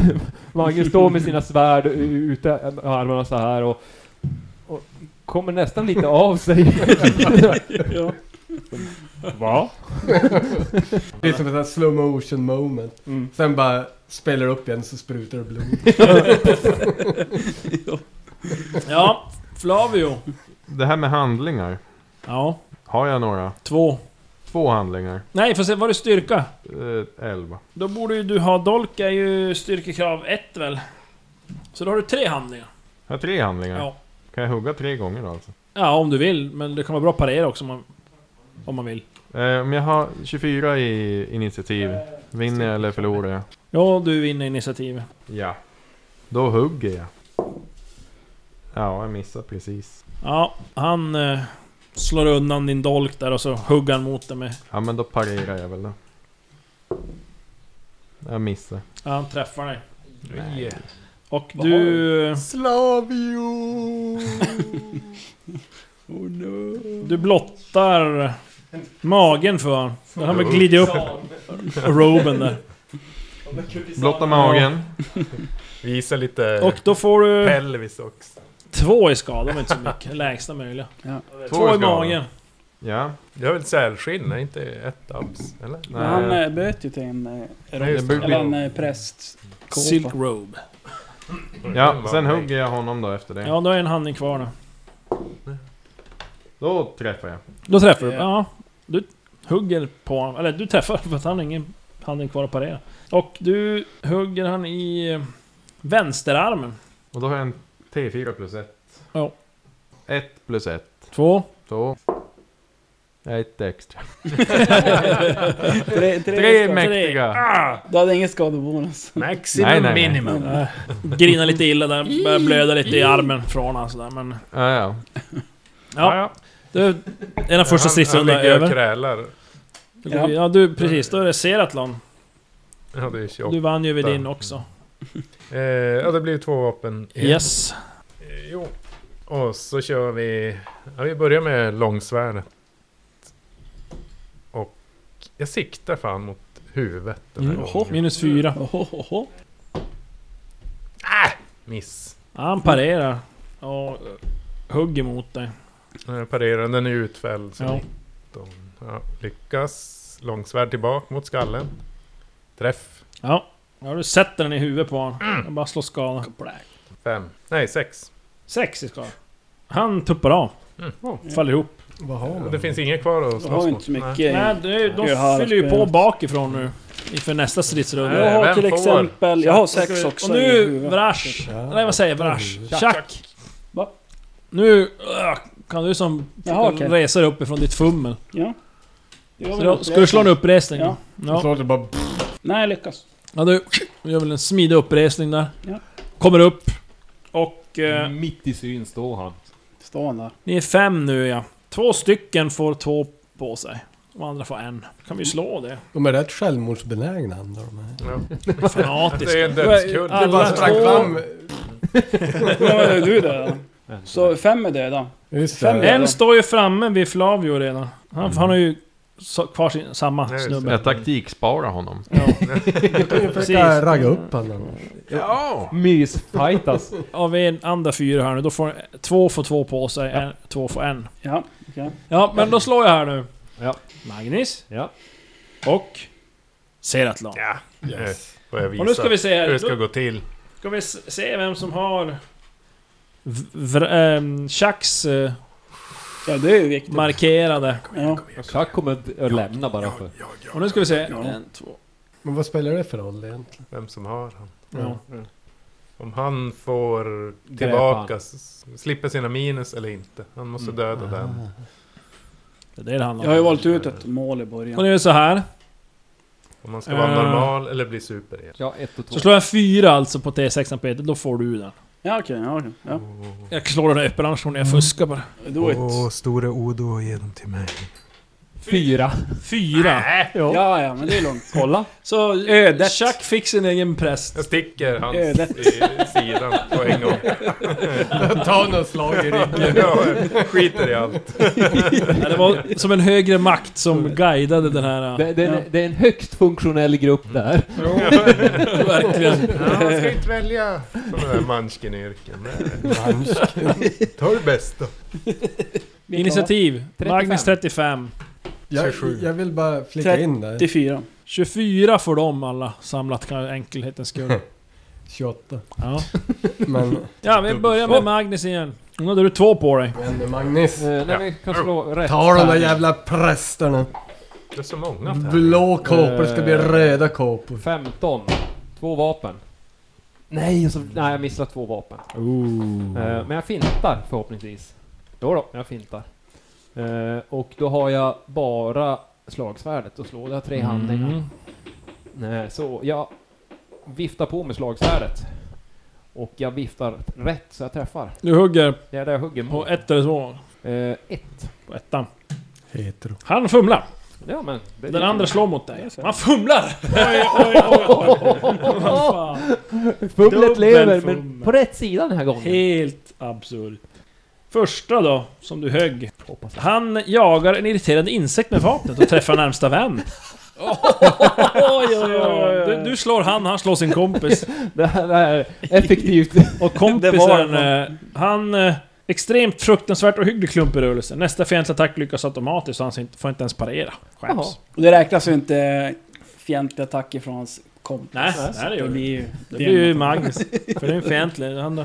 Speaker 3: Mange står med sina svärd ute med armarna så här och, och kommer nästan lite av sig.
Speaker 2: Ja.
Speaker 3: Va?
Speaker 6: Det är som ett sånt här slow motion moment.
Speaker 3: Mm.
Speaker 6: Sen bara spelar upp igen så sprutar det blod.
Speaker 4: Ja, Flavio.
Speaker 7: Det här *laughs* med handlingar.
Speaker 4: Ja,
Speaker 7: Har jag några?
Speaker 4: två.
Speaker 7: Två handlingar.
Speaker 4: Nej får se, var det styrka?
Speaker 7: Eh, 11.
Speaker 4: Då borde ju du ha... Dolk är ju styrkekrav 1 väl? Så då har du tre handlingar.
Speaker 7: Jag har tre handlingar.
Speaker 4: Ja.
Speaker 7: Kan jag hugga tre gånger då alltså?
Speaker 4: Ja, om du vill. Men det kan vara bra att parera också om man, om man vill.
Speaker 7: Eh, om jag har 24 i initiativ, vinner jag eller förlorar jag?
Speaker 4: Ja, du vinner initiativ.
Speaker 7: Ja. Då hugger jag. Ja, jag missar precis.
Speaker 4: Ja, han eh, slår undan din dolk där och så hugger han mot dig med...
Speaker 7: Ja, men då parerar jag väl då. Jag missar.
Speaker 4: Ja, han träffar dig.
Speaker 5: Nej.
Speaker 4: Och du...
Speaker 6: Slavio!
Speaker 4: Du blottar magen för honom. Han har glidit upp roben där.
Speaker 7: Blotta magen.
Speaker 5: Visa lite
Speaker 4: Och då får du
Speaker 5: pelvis också.
Speaker 4: två i skada, men inte så mycket. Lägsta möjliga. Två i
Speaker 7: skador.
Speaker 4: magen.
Speaker 7: Ja.
Speaker 5: Du har väl sälskinn? är inte ett abs? Eller?
Speaker 2: Men han
Speaker 7: Nej.
Speaker 2: eh, böt ju till en, eh,
Speaker 5: Nej, just det.
Speaker 2: eller en eh, präst.
Speaker 4: Silk robe.
Speaker 7: Ja, sen hugger jag honom då efter det.
Speaker 4: Ja, då är en handling kvar då.
Speaker 7: Då träffar jag.
Speaker 4: Då träffar du.
Speaker 2: Ja.
Speaker 4: Ja. Du hugger på honom. Eller du träffar *laughs* för att han har ingen handen kvar att parera. Och du hugger han i vänsterarmen.
Speaker 7: Och då har jag en T4 plus 1.
Speaker 4: Ja.
Speaker 7: 1 plus 1.
Speaker 4: Två. *laughs*
Speaker 7: Så. Ett extra.
Speaker 2: Tre, tre,
Speaker 7: Tre
Speaker 2: skador.
Speaker 7: mäktiga!
Speaker 2: Du hade ingen skadebonus.
Speaker 5: Maximum
Speaker 7: Nej, nej, nej.
Speaker 5: minimum.
Speaker 4: Äh, Grinar lite illa där, börjar blöda lite i armen från han sådär men...
Speaker 7: Ja, ja.
Speaker 4: Ja, du... En av första stridsrundan är
Speaker 5: Han ligger och
Speaker 4: över.
Speaker 5: krälar.
Speaker 4: Då går vi- Ja du, precis. Då är det Seratlon.
Speaker 5: Ja, det är
Speaker 4: Du
Speaker 5: tjockt.
Speaker 4: vann ju vid din också.
Speaker 5: Eh, ja, det blir ju två vapen. igen.
Speaker 4: Yes.
Speaker 5: Eh, Jo. Och så kör vi... Ja, vi börjar med långsvärdet. Och jag siktar fan mot huvudet den här
Speaker 4: Mm.
Speaker 5: gången.
Speaker 4: Minus fyra.
Speaker 2: Ohohoho.
Speaker 5: Miss.
Speaker 4: Han parerar. Och hugger mot dig.
Speaker 5: Jag parerar, den är utfälld. Så
Speaker 4: Ja.
Speaker 5: ja. Ja, lyckas. Långsvärd tillbaka mot skallen. Träff.
Speaker 4: Ja. Ja, du sätter den i huvudet på honom. Jag bara slår skada.
Speaker 5: Fem. Nej, sex.
Speaker 4: Sex i skada. Han tuppar av.
Speaker 5: Mm.
Speaker 4: Faller ihop.
Speaker 6: Vad har man?
Speaker 5: Det finns inget kvar att
Speaker 2: Du
Speaker 5: slåss
Speaker 2: har ju
Speaker 5: mot.
Speaker 2: inte så mycket.
Speaker 5: Nej.
Speaker 4: Nej, de, de
Speaker 2: Jag har
Speaker 4: fyller ju på
Speaker 2: spelat.
Speaker 4: bakifrån nu. Inför nästa stridsrunda.
Speaker 5: Nej,
Speaker 2: Jag har
Speaker 5: vem
Speaker 2: till
Speaker 5: får?
Speaker 2: exempel... Jag har
Speaker 4: Ska
Speaker 2: sex
Speaker 4: vi-
Speaker 2: också
Speaker 4: Och
Speaker 2: i
Speaker 4: nu,
Speaker 2: huvudet.
Speaker 4: Vrash. Nej vad säger jag? Vrash?
Speaker 6: Tjack.
Speaker 4: Tjack!
Speaker 2: Va?
Speaker 4: Nu äh, kan du som
Speaker 2: Jaha, okej.
Speaker 4: resa dig uppifrån ditt fummel.
Speaker 2: Ja. Det var
Speaker 4: Så
Speaker 2: väl
Speaker 4: då,
Speaker 2: något.
Speaker 4: ska du slå en uppresning?
Speaker 2: Ja.
Speaker 6: Jag
Speaker 4: Ja.
Speaker 6: tror att det bara...
Speaker 2: Nej, jag lyckas.
Speaker 4: ja du gör väl en smidig uppresning där.
Speaker 2: Ja. Mm.
Speaker 4: Kommer upp. Och eh,
Speaker 3: Mitt i syn står han.
Speaker 2: Står han där.
Speaker 4: ni är fem nu ja. Två stycken får två på sig. De andra får en. Kan vi slå
Speaker 5: *laughs*
Speaker 4: det?
Speaker 6: De är rätt självmordsbenägna andra de här.
Speaker 5: Ja. Det är
Speaker 4: Fanatiska.
Speaker 5: en dödskull.
Speaker 4: Alla två-
Speaker 2: Ja, men du är döda. Så fem är döda.
Speaker 6: Just
Speaker 2: Fem
Speaker 6: det.
Speaker 2: är-
Speaker 4: En står ju framme vid Flavio redan. Han,
Speaker 6: Mm.
Speaker 4: han har ju så, kvar sin, samma
Speaker 5: Nej,
Speaker 4: snubbe.
Speaker 7: Jag taktiksparar honom.
Speaker 6: Du kan ju
Speaker 4: Precis.
Speaker 6: försöka ragga upp honom.
Speaker 7: Ja!
Speaker 3: Mysfajtas.
Speaker 4: Av en andra fyra här nu, då får två får två på sig, en, två får en.
Speaker 2: Ja, okej.
Speaker 4: Ja, men då slår jag här nu.
Speaker 3: Ja.
Speaker 4: Magnus.
Speaker 3: Ja.
Speaker 4: Och... Seratlon.
Speaker 5: Ja,
Speaker 6: Yes.
Speaker 5: Eh, får jag visa
Speaker 4: och nu ska vi se
Speaker 5: hur
Speaker 4: här.
Speaker 5: det ska
Speaker 4: Då
Speaker 5: gå till.
Speaker 4: ska vi s- se vem som har... v- vr- ehm, Chacks eh,
Speaker 2: Ja, det är ju viktigt.
Speaker 4: markerade.
Speaker 2: Ja.
Speaker 3: Chuck kommer inte att lämna bara för...
Speaker 4: Och nu ska vi se.
Speaker 2: Ja.
Speaker 4: En, två.
Speaker 6: Men vad spelar det för roll egentligen?
Speaker 5: Vem som har han.
Speaker 4: Ja.
Speaker 5: Mm. Om han får
Speaker 3: Dräpa
Speaker 5: tillbaka, s- slipper sina minus eller inte. Han måste döda den.
Speaker 4: Det är det det handlar om.
Speaker 2: Jag har ju valt ut ett mål i
Speaker 4: Och
Speaker 2: början.
Speaker 4: nu är det så här.
Speaker 5: Om man ska vara
Speaker 4: Eh.
Speaker 5: normal eller bli super igen.
Speaker 3: Ja, ett och två.
Speaker 4: Så slår jag en fyra alltså på T6 Peter, då får du den.
Speaker 2: Ja, okej. Ja, okej. Ja.
Speaker 4: Jag slår den öppen annars kommer jag fuska bara.
Speaker 2: Do it.
Speaker 5: store Odo, ge dem till mig.
Speaker 3: Fyra.
Speaker 4: Fyra.
Speaker 2: Ja, ja, men det är lugnt.
Speaker 4: Kolla. Så
Speaker 2: Ödet.
Speaker 4: Chuck fick sin egen präst.
Speaker 5: Jag sticker hans
Speaker 2: Eh, det-
Speaker 5: i sidan på en gång.
Speaker 6: Ta några slag i ryggen.
Speaker 5: Ja, jag skiter i allt.
Speaker 4: Ja, det var som en högre makt som guidade den här...
Speaker 3: Det, det, det är en högst funktionell grupp
Speaker 7: Mm.
Speaker 3: där.
Speaker 5: *laughs*
Speaker 4: Verkligen.
Speaker 5: Ja, man ska inte välja sådana där Munchkin-yrken. Nej. Ta det bästa.
Speaker 4: Initiativ.
Speaker 3: 35.
Speaker 4: Magnus 35.
Speaker 6: Jag,
Speaker 5: 27.
Speaker 6: jag vill bara flika in där.
Speaker 2: 84.
Speaker 4: 24 får de alla samlat, kan jag enkelhetens skull.
Speaker 6: 28.
Speaker 4: Ja.
Speaker 6: Men...
Speaker 4: ja, vi börjar med Magnus igen. Nu hade du två på dig.
Speaker 6: Men Magnus.
Speaker 3: Eh, nej, vi kan slå rätt.
Speaker 6: Ta de där
Speaker 3: här.
Speaker 6: jävla prästerna.
Speaker 5: Det är så många här.
Speaker 6: Blå kåpor det ska bli röda kåpor.
Speaker 3: 15. Två vapen. Nej, och så, nej jag missade två vapen. Eh, men jag fintar förhoppningsvis. Jo då, jag fintar. Eh, och då har jag bara slagsvärdet och slår. Jag har tre
Speaker 4: Mm.
Speaker 3: handlingar. Nej, så jag viftar på med slagsvärdet. Och jag viftar rätt så jag träffar.
Speaker 4: Du hugger
Speaker 3: Det är där jag hugger mot.
Speaker 4: på ett eller två.
Speaker 3: Eh, ett.
Speaker 4: På ettan.
Speaker 6: Hetero.
Speaker 4: Han fumlar.
Speaker 3: Ja, men det är
Speaker 4: Den andra slår mot dig. Han fumlar! Vad fan.
Speaker 3: Fumlet lever,
Speaker 4: Dubbel
Speaker 3: men
Speaker 4: fumel.
Speaker 3: på rätt sida den här
Speaker 4: *laughs*
Speaker 3: gången.
Speaker 4: Helt absurt. Första då, som du högg.
Speaker 3: Hoppas jag.
Speaker 4: Han jagar en irriterad insekt med vapnet och träffar närmsta vän. Oj, oj, oj. Du, du slår han, han slår sin *laughs* kompis.
Speaker 3: Det här, det här är
Speaker 4: Och
Speaker 3: effektivt.
Speaker 2: Det var
Speaker 4: kompisen, eh, han... eh, Extremt fruktansvärt och hygglig klump i rörelsen. Nästa fientlig attack lyckas automatiskt så han inte- får inte ens parera.
Speaker 3: Jaha.
Speaker 4: Skäms.
Speaker 2: Och det räknas ju inte fientlig attack ifrån hans kompis.
Speaker 4: Nej,
Speaker 2: Så
Speaker 4: nej, det gör det.
Speaker 2: blir ju...
Speaker 4: Det blir ju
Speaker 3: *laughs*
Speaker 4: Magnus. För det är en fientlig. Han då.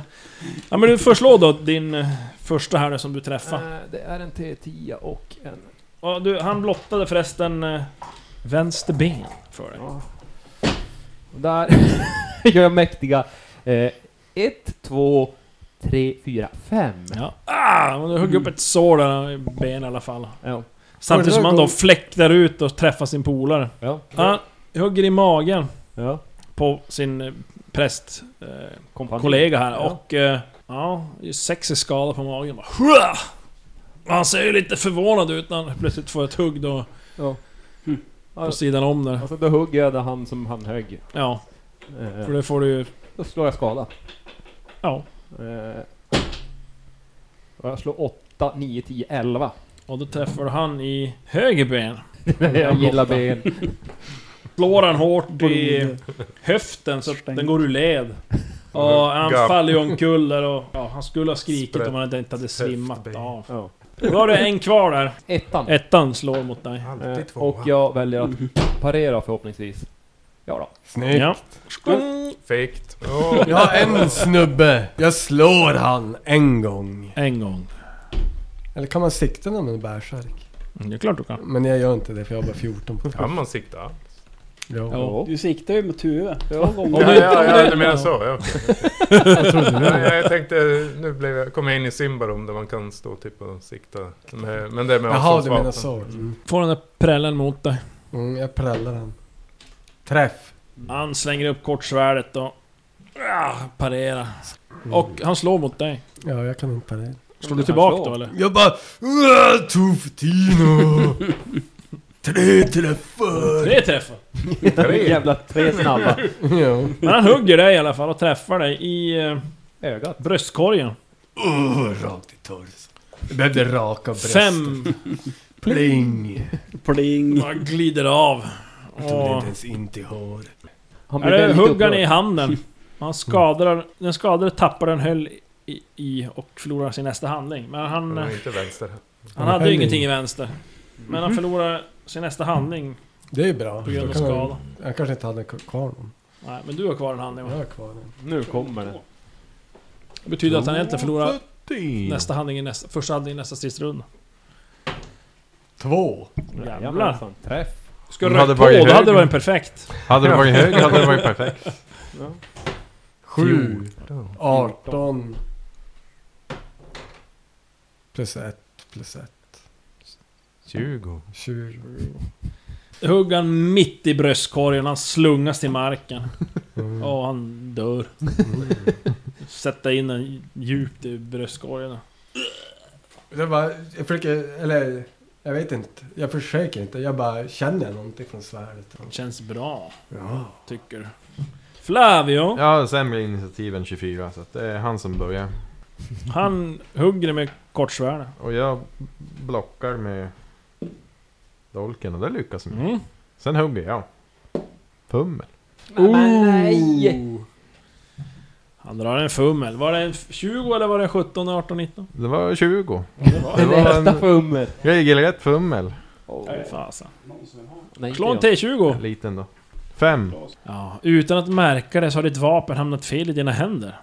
Speaker 4: Ja men du får slå då din eh, första här nu som du träffar.
Speaker 3: Eh, Det är en T10 och en...
Speaker 4: Och du, han blottade förresten eh, vänster ben för dig.
Speaker 3: Ja. Och Där *laughs* gör jag mäktiga eh, 1, 2, 3, 4, 5.
Speaker 4: Ja. Ah! Och du högg upp ett sår där i ben i alla fall.
Speaker 3: Ja.
Speaker 4: Samtidigt som han då fläktar ut och träffar sin polare.
Speaker 3: Ja.
Speaker 4: Han hugger i magen
Speaker 3: Ja.
Speaker 4: på sin eh, präst... Eh,
Speaker 3: Kompanjon.
Speaker 4: kollega här
Speaker 3: Ja.
Speaker 4: och... eh, Ja, det är sex i skada på magen bara. Hua! Han ser ju lite förvånad ut när han plötsligt får ett hugg då
Speaker 3: Ja. Hm.
Speaker 4: på sidan om där.
Speaker 3: Alltså då hugger jag där han som han högg.
Speaker 4: Ja,
Speaker 3: Eh,
Speaker 4: för det får du ju...
Speaker 3: Då slår jag skada.
Speaker 4: Ja.
Speaker 3: Eh, och jag slår 8, 9, 10, 11.
Speaker 4: Och då träffar du han i höger ben.
Speaker 3: *laughs* jag gillar ben.
Speaker 4: Slår han hårt i höften så att den går ur led. Och han
Speaker 5: Gapp.
Speaker 4: faller ju omkull där och... Ja, han skulle ha skrikit om han inte hade svimmat
Speaker 5: Höftben.
Speaker 4: av.
Speaker 3: Ja.
Speaker 4: Då har du en kvar där.
Speaker 3: Ettan.
Speaker 4: Ettan slår mot dig.
Speaker 5: Alltid
Speaker 3: Eh,
Speaker 5: tvåa.
Speaker 3: och jag väljer att parera förhoppningsvis. Ja då.
Speaker 6: Snyggt.
Speaker 4: Ja.
Speaker 5: Fegt. Åh,
Speaker 6: Jag har en snubbe. Jag slår han en gång.
Speaker 4: En gång.
Speaker 6: Eller kan man sikta någon med bärsärk?
Speaker 4: Mm, Det är klart du kan.
Speaker 6: Men jag gör inte det för jag har bara 14 på
Speaker 5: Kan man sikta?
Speaker 6: ja.
Speaker 4: Ja.
Speaker 2: Du siktar ju mot huvudet. Två
Speaker 5: Ja,
Speaker 2: gånger.
Speaker 5: ja, ja, du menar så. Ja, okej.
Speaker 6: det.
Speaker 5: Nej, jag tänkte, nu blev jag, kom jag in i Simbarum där man kan stå typ och sikta. Med, men det är med
Speaker 6: Jaha, du
Speaker 5: avståndsvapen.
Speaker 6: menar så. Mm.
Speaker 4: Får den där prällen mot dig.
Speaker 6: Mm, jag prällar han. Träff.
Speaker 4: Han slänger upp kortsvärdet och... Ah, parerar.
Speaker 6: Mm.
Speaker 4: Och han slår mot dig.
Speaker 6: Ja, jag kan inte parera.
Speaker 4: Slår du tillbaka
Speaker 3: slår.
Speaker 4: då eller?
Speaker 6: Jag bara... "Uah, Tuftino! Tre träffar!
Speaker 4: Tre träffar!
Speaker 3: Jävla tre snabba.
Speaker 6: Ja.
Speaker 4: Men han hugger dig i alla fall och träffar dig i eh,
Speaker 3: Ögat.
Speaker 4: bröstkorgen.
Speaker 6: Uh, rakt i torsen. Jag behövde raka bröstet.
Speaker 4: Fem
Speaker 6: Pling!
Speaker 2: Pling.
Speaker 4: bara glider av.
Speaker 6: Jag tog det
Speaker 4: Och,
Speaker 6: inte ens in till hår.
Speaker 3: Han
Speaker 4: är
Speaker 3: blir
Speaker 4: det
Speaker 3: väldigt
Speaker 4: huggar i
Speaker 3: upprörd.
Speaker 4: handen. Han skadar, den skadade tappar den höll i, i och förlorar sin nästa handling. Men han,
Speaker 5: Men
Speaker 4: eh,
Speaker 5: inte vänster.
Speaker 4: han hade
Speaker 6: Höll
Speaker 4: ju
Speaker 6: i.
Speaker 4: ingenting i vänster. Men
Speaker 6: Mhm.
Speaker 4: han förlorar sin nästa handling
Speaker 6: Det är ju bra.
Speaker 4: på grund av
Speaker 6: Då kan man-
Speaker 4: skada.
Speaker 6: Jag kanske inte hade kvar någon.
Speaker 4: Nej, men du har kvar en handling
Speaker 6: Jag
Speaker 4: va?
Speaker 6: har kvar den.
Speaker 3: Nu kommer det.
Speaker 4: Det betyder att han egentligen förlorar
Speaker 7: Nästa.
Speaker 4: nästa handling i nästa, första handling i nästa stridsrunda.
Speaker 6: Två!
Speaker 4: Jävlar.
Speaker 3: Jajamensan, Träff.
Speaker 4: Ska du
Speaker 7: Men hade
Speaker 4: rökt på,
Speaker 7: varit
Speaker 4: då hade det
Speaker 7: höger.
Speaker 4: varit perfekt.
Speaker 7: Hade det varit hög hade
Speaker 5: *laughs*
Speaker 7: det varit perfekt.
Speaker 6: Sju! Arton! Plus ett, plus ett.
Speaker 5: 20.
Speaker 6: Tjugo. *laughs*
Speaker 4: Hugg han mitt i bröstkorgen, han slungas till marken. Och han dör. Sätta in den djupt i bröstkorgen.
Speaker 6: Det var, jag försöker, eller jag vet inte. Jag försöker inte. Jag bara känner någonting från svärdet.
Speaker 4: Känns bra,
Speaker 6: Ja.
Speaker 4: tycker du. Flavio,
Speaker 7: Jag har sämre initiativ än 24 så att det är han som börjar.
Speaker 4: han hugger dig med kortsvärdet.
Speaker 7: Och jag blockar med dolken och det lyckas jag med.
Speaker 4: Mm.
Speaker 7: Sen hugger jag. Pummel.
Speaker 3: Men nej!
Speaker 4: Han drar en fummel. Var det en f- 20 eller var det en 17, 18, 19?
Speaker 7: Det var 20.
Speaker 3: Det
Speaker 7: Det var
Speaker 3: var
Speaker 7: en-
Speaker 3: nästa fummel.
Speaker 7: Regelrätt fummel.
Speaker 4: Nej, fasen.
Speaker 3: Nej,
Speaker 4: Slå en
Speaker 3: inte jag.
Speaker 4: T20.
Speaker 7: Liten då. Fem.
Speaker 4: Ja, utan att märka det så har ditt vapen hamnat fel i dina händer.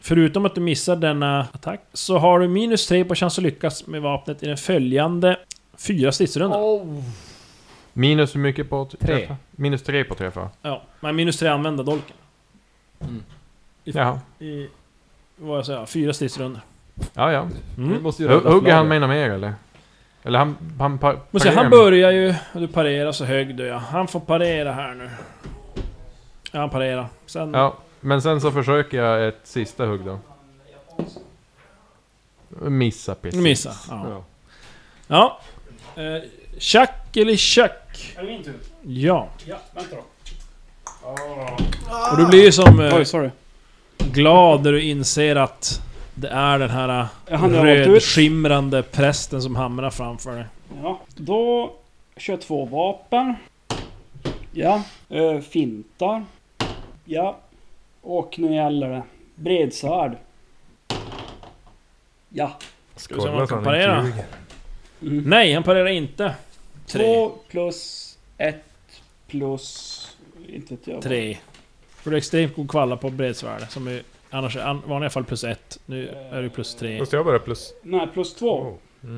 Speaker 4: Förutom att du missar denna attack så har du minus 3 på chans att lyckas med vapnet i den följande fyra stridsrundan.
Speaker 3: Oh.
Speaker 7: Minus hur mycket på att
Speaker 3: Tre.
Speaker 7: träffa? Minus tre på att träffa.
Speaker 4: Ja, men minus 3 använda dolken.
Speaker 7: Jaha.
Speaker 4: I, vad jag säger, fyra stridsrundor.
Speaker 7: Ja, ja.
Speaker 3: Vi
Speaker 4: Mm.
Speaker 3: måste ju
Speaker 7: Hu-
Speaker 3: rädda
Speaker 7: Hugger han
Speaker 3: slaget.
Speaker 7: mig något mer eller? Eller han... Han, par,
Speaker 4: Men se,
Speaker 7: parerar
Speaker 4: han
Speaker 7: mig.
Speaker 4: börjar ju, och du parerar så hög du ja. Han får parera här nu. Ja, han parerar. Sen...
Speaker 7: Ja, men sen så försöker jag ett sista hugg då. Missa precis.
Speaker 4: Missa. Ja. ja. Eh, Tjack eller tjack? Är det min tur? Ja. Ja, vänta då. Och du blir ju som eh,
Speaker 2: Oj, sorry.
Speaker 4: glad när du inser att det är den här eh,
Speaker 2: Jag hann röd ut.
Speaker 4: rödskimrande prästen som hamrar framför dig.
Speaker 2: Ja. Då kör jag två vapen. Ja, eh, fintar. Ja, och nu gäller det. Bredsvärd. Ja,
Speaker 4: Ska vi se om han kan parera? Nej, han parerar inte. Mm. Tre.
Speaker 2: två plus ett plus... Inte vet jag.
Speaker 4: Tre. För du är extremt god kvalla på bredsvärd, som är annars är an, vanliga fall plus ett. Nu är det plus tre.
Speaker 5: Måste jag bara plus...
Speaker 2: Nej, plus två.
Speaker 5: Oh.
Speaker 4: Nej,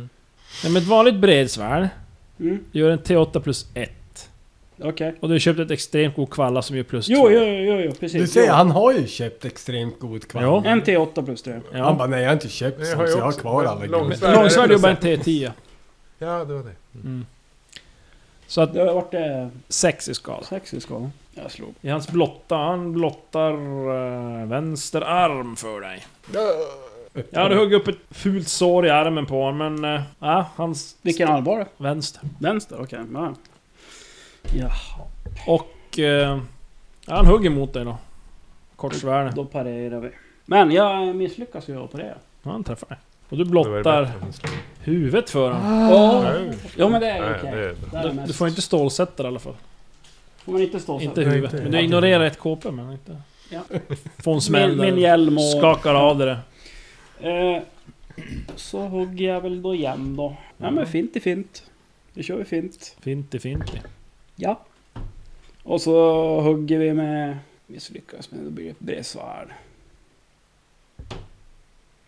Speaker 4: men ett vanligt bredsvärd
Speaker 2: Mm,
Speaker 4: gör en T8 plus ett.
Speaker 2: Okej.
Speaker 4: Och du har köpt ett extremt god kvalla som gör plus
Speaker 2: Jo,
Speaker 4: två.
Speaker 2: jo, jo, jo, precis.
Speaker 6: Du ser,
Speaker 2: Jo.
Speaker 6: han har ju köpt extremt god kvalitet.
Speaker 4: Ja.
Speaker 2: En till åtta plus tre.
Speaker 6: Han
Speaker 4: Ja.
Speaker 6: bara, nej jag har inte köpt
Speaker 5: Det
Speaker 6: sånt,
Speaker 5: har jag
Speaker 6: så jag har
Speaker 5: också.
Speaker 6: kvar alla
Speaker 5: Men
Speaker 6: gubbar.
Speaker 5: långs-
Speaker 4: Långsvärd gör bara en T10.
Speaker 5: Ja, det var det.
Speaker 4: Så att
Speaker 2: Det har varit eh,
Speaker 4: sex i skada.
Speaker 2: sex i skalan. Jag slog.
Speaker 4: I hans blotta, han blottar eh, vänster arm för dig. Ja, du hugger upp ett fult sår i armen på honom, men... eh, Ja, hans
Speaker 2: Vilken arm var det?
Speaker 4: vänster.
Speaker 2: Vänster? Okej. ja.
Speaker 4: Och... eh, ja, han hugger mot dig då. Kortsvärd.
Speaker 2: Då parerar vi. Men jag misslyckas ju att parera.
Speaker 4: Ja, han träffar dig. Och du
Speaker 5: Det var det
Speaker 4: blottar
Speaker 5: bättre.
Speaker 4: huvudet för honom.
Speaker 2: Åh!
Speaker 5: Nej,
Speaker 2: Ja men det är
Speaker 5: nej,
Speaker 2: okej.
Speaker 5: det är bra.
Speaker 2: Där
Speaker 4: Ah.
Speaker 2: är
Speaker 4: Du,
Speaker 2: mest.
Speaker 4: du får inte stålsätta det i alla fall.
Speaker 2: Får man inte stå så?
Speaker 4: Inte
Speaker 5: Nej,
Speaker 4: huvudet.
Speaker 5: inte.
Speaker 4: Men du ignorerar ett KP, men inte...
Speaker 2: Ja.
Speaker 4: Får en
Speaker 2: min,
Speaker 4: smäll
Speaker 2: min
Speaker 4: där.
Speaker 2: hjälm och...
Speaker 4: Skakar av dig det.
Speaker 2: Eh, så hugger jag väl då igen då. Ja men fint är fint. Nu kör vi fint.
Speaker 4: Finti, finti.
Speaker 2: Ja. Och så hugger vi med... Misslyckas men då blir det ett bredsvärd.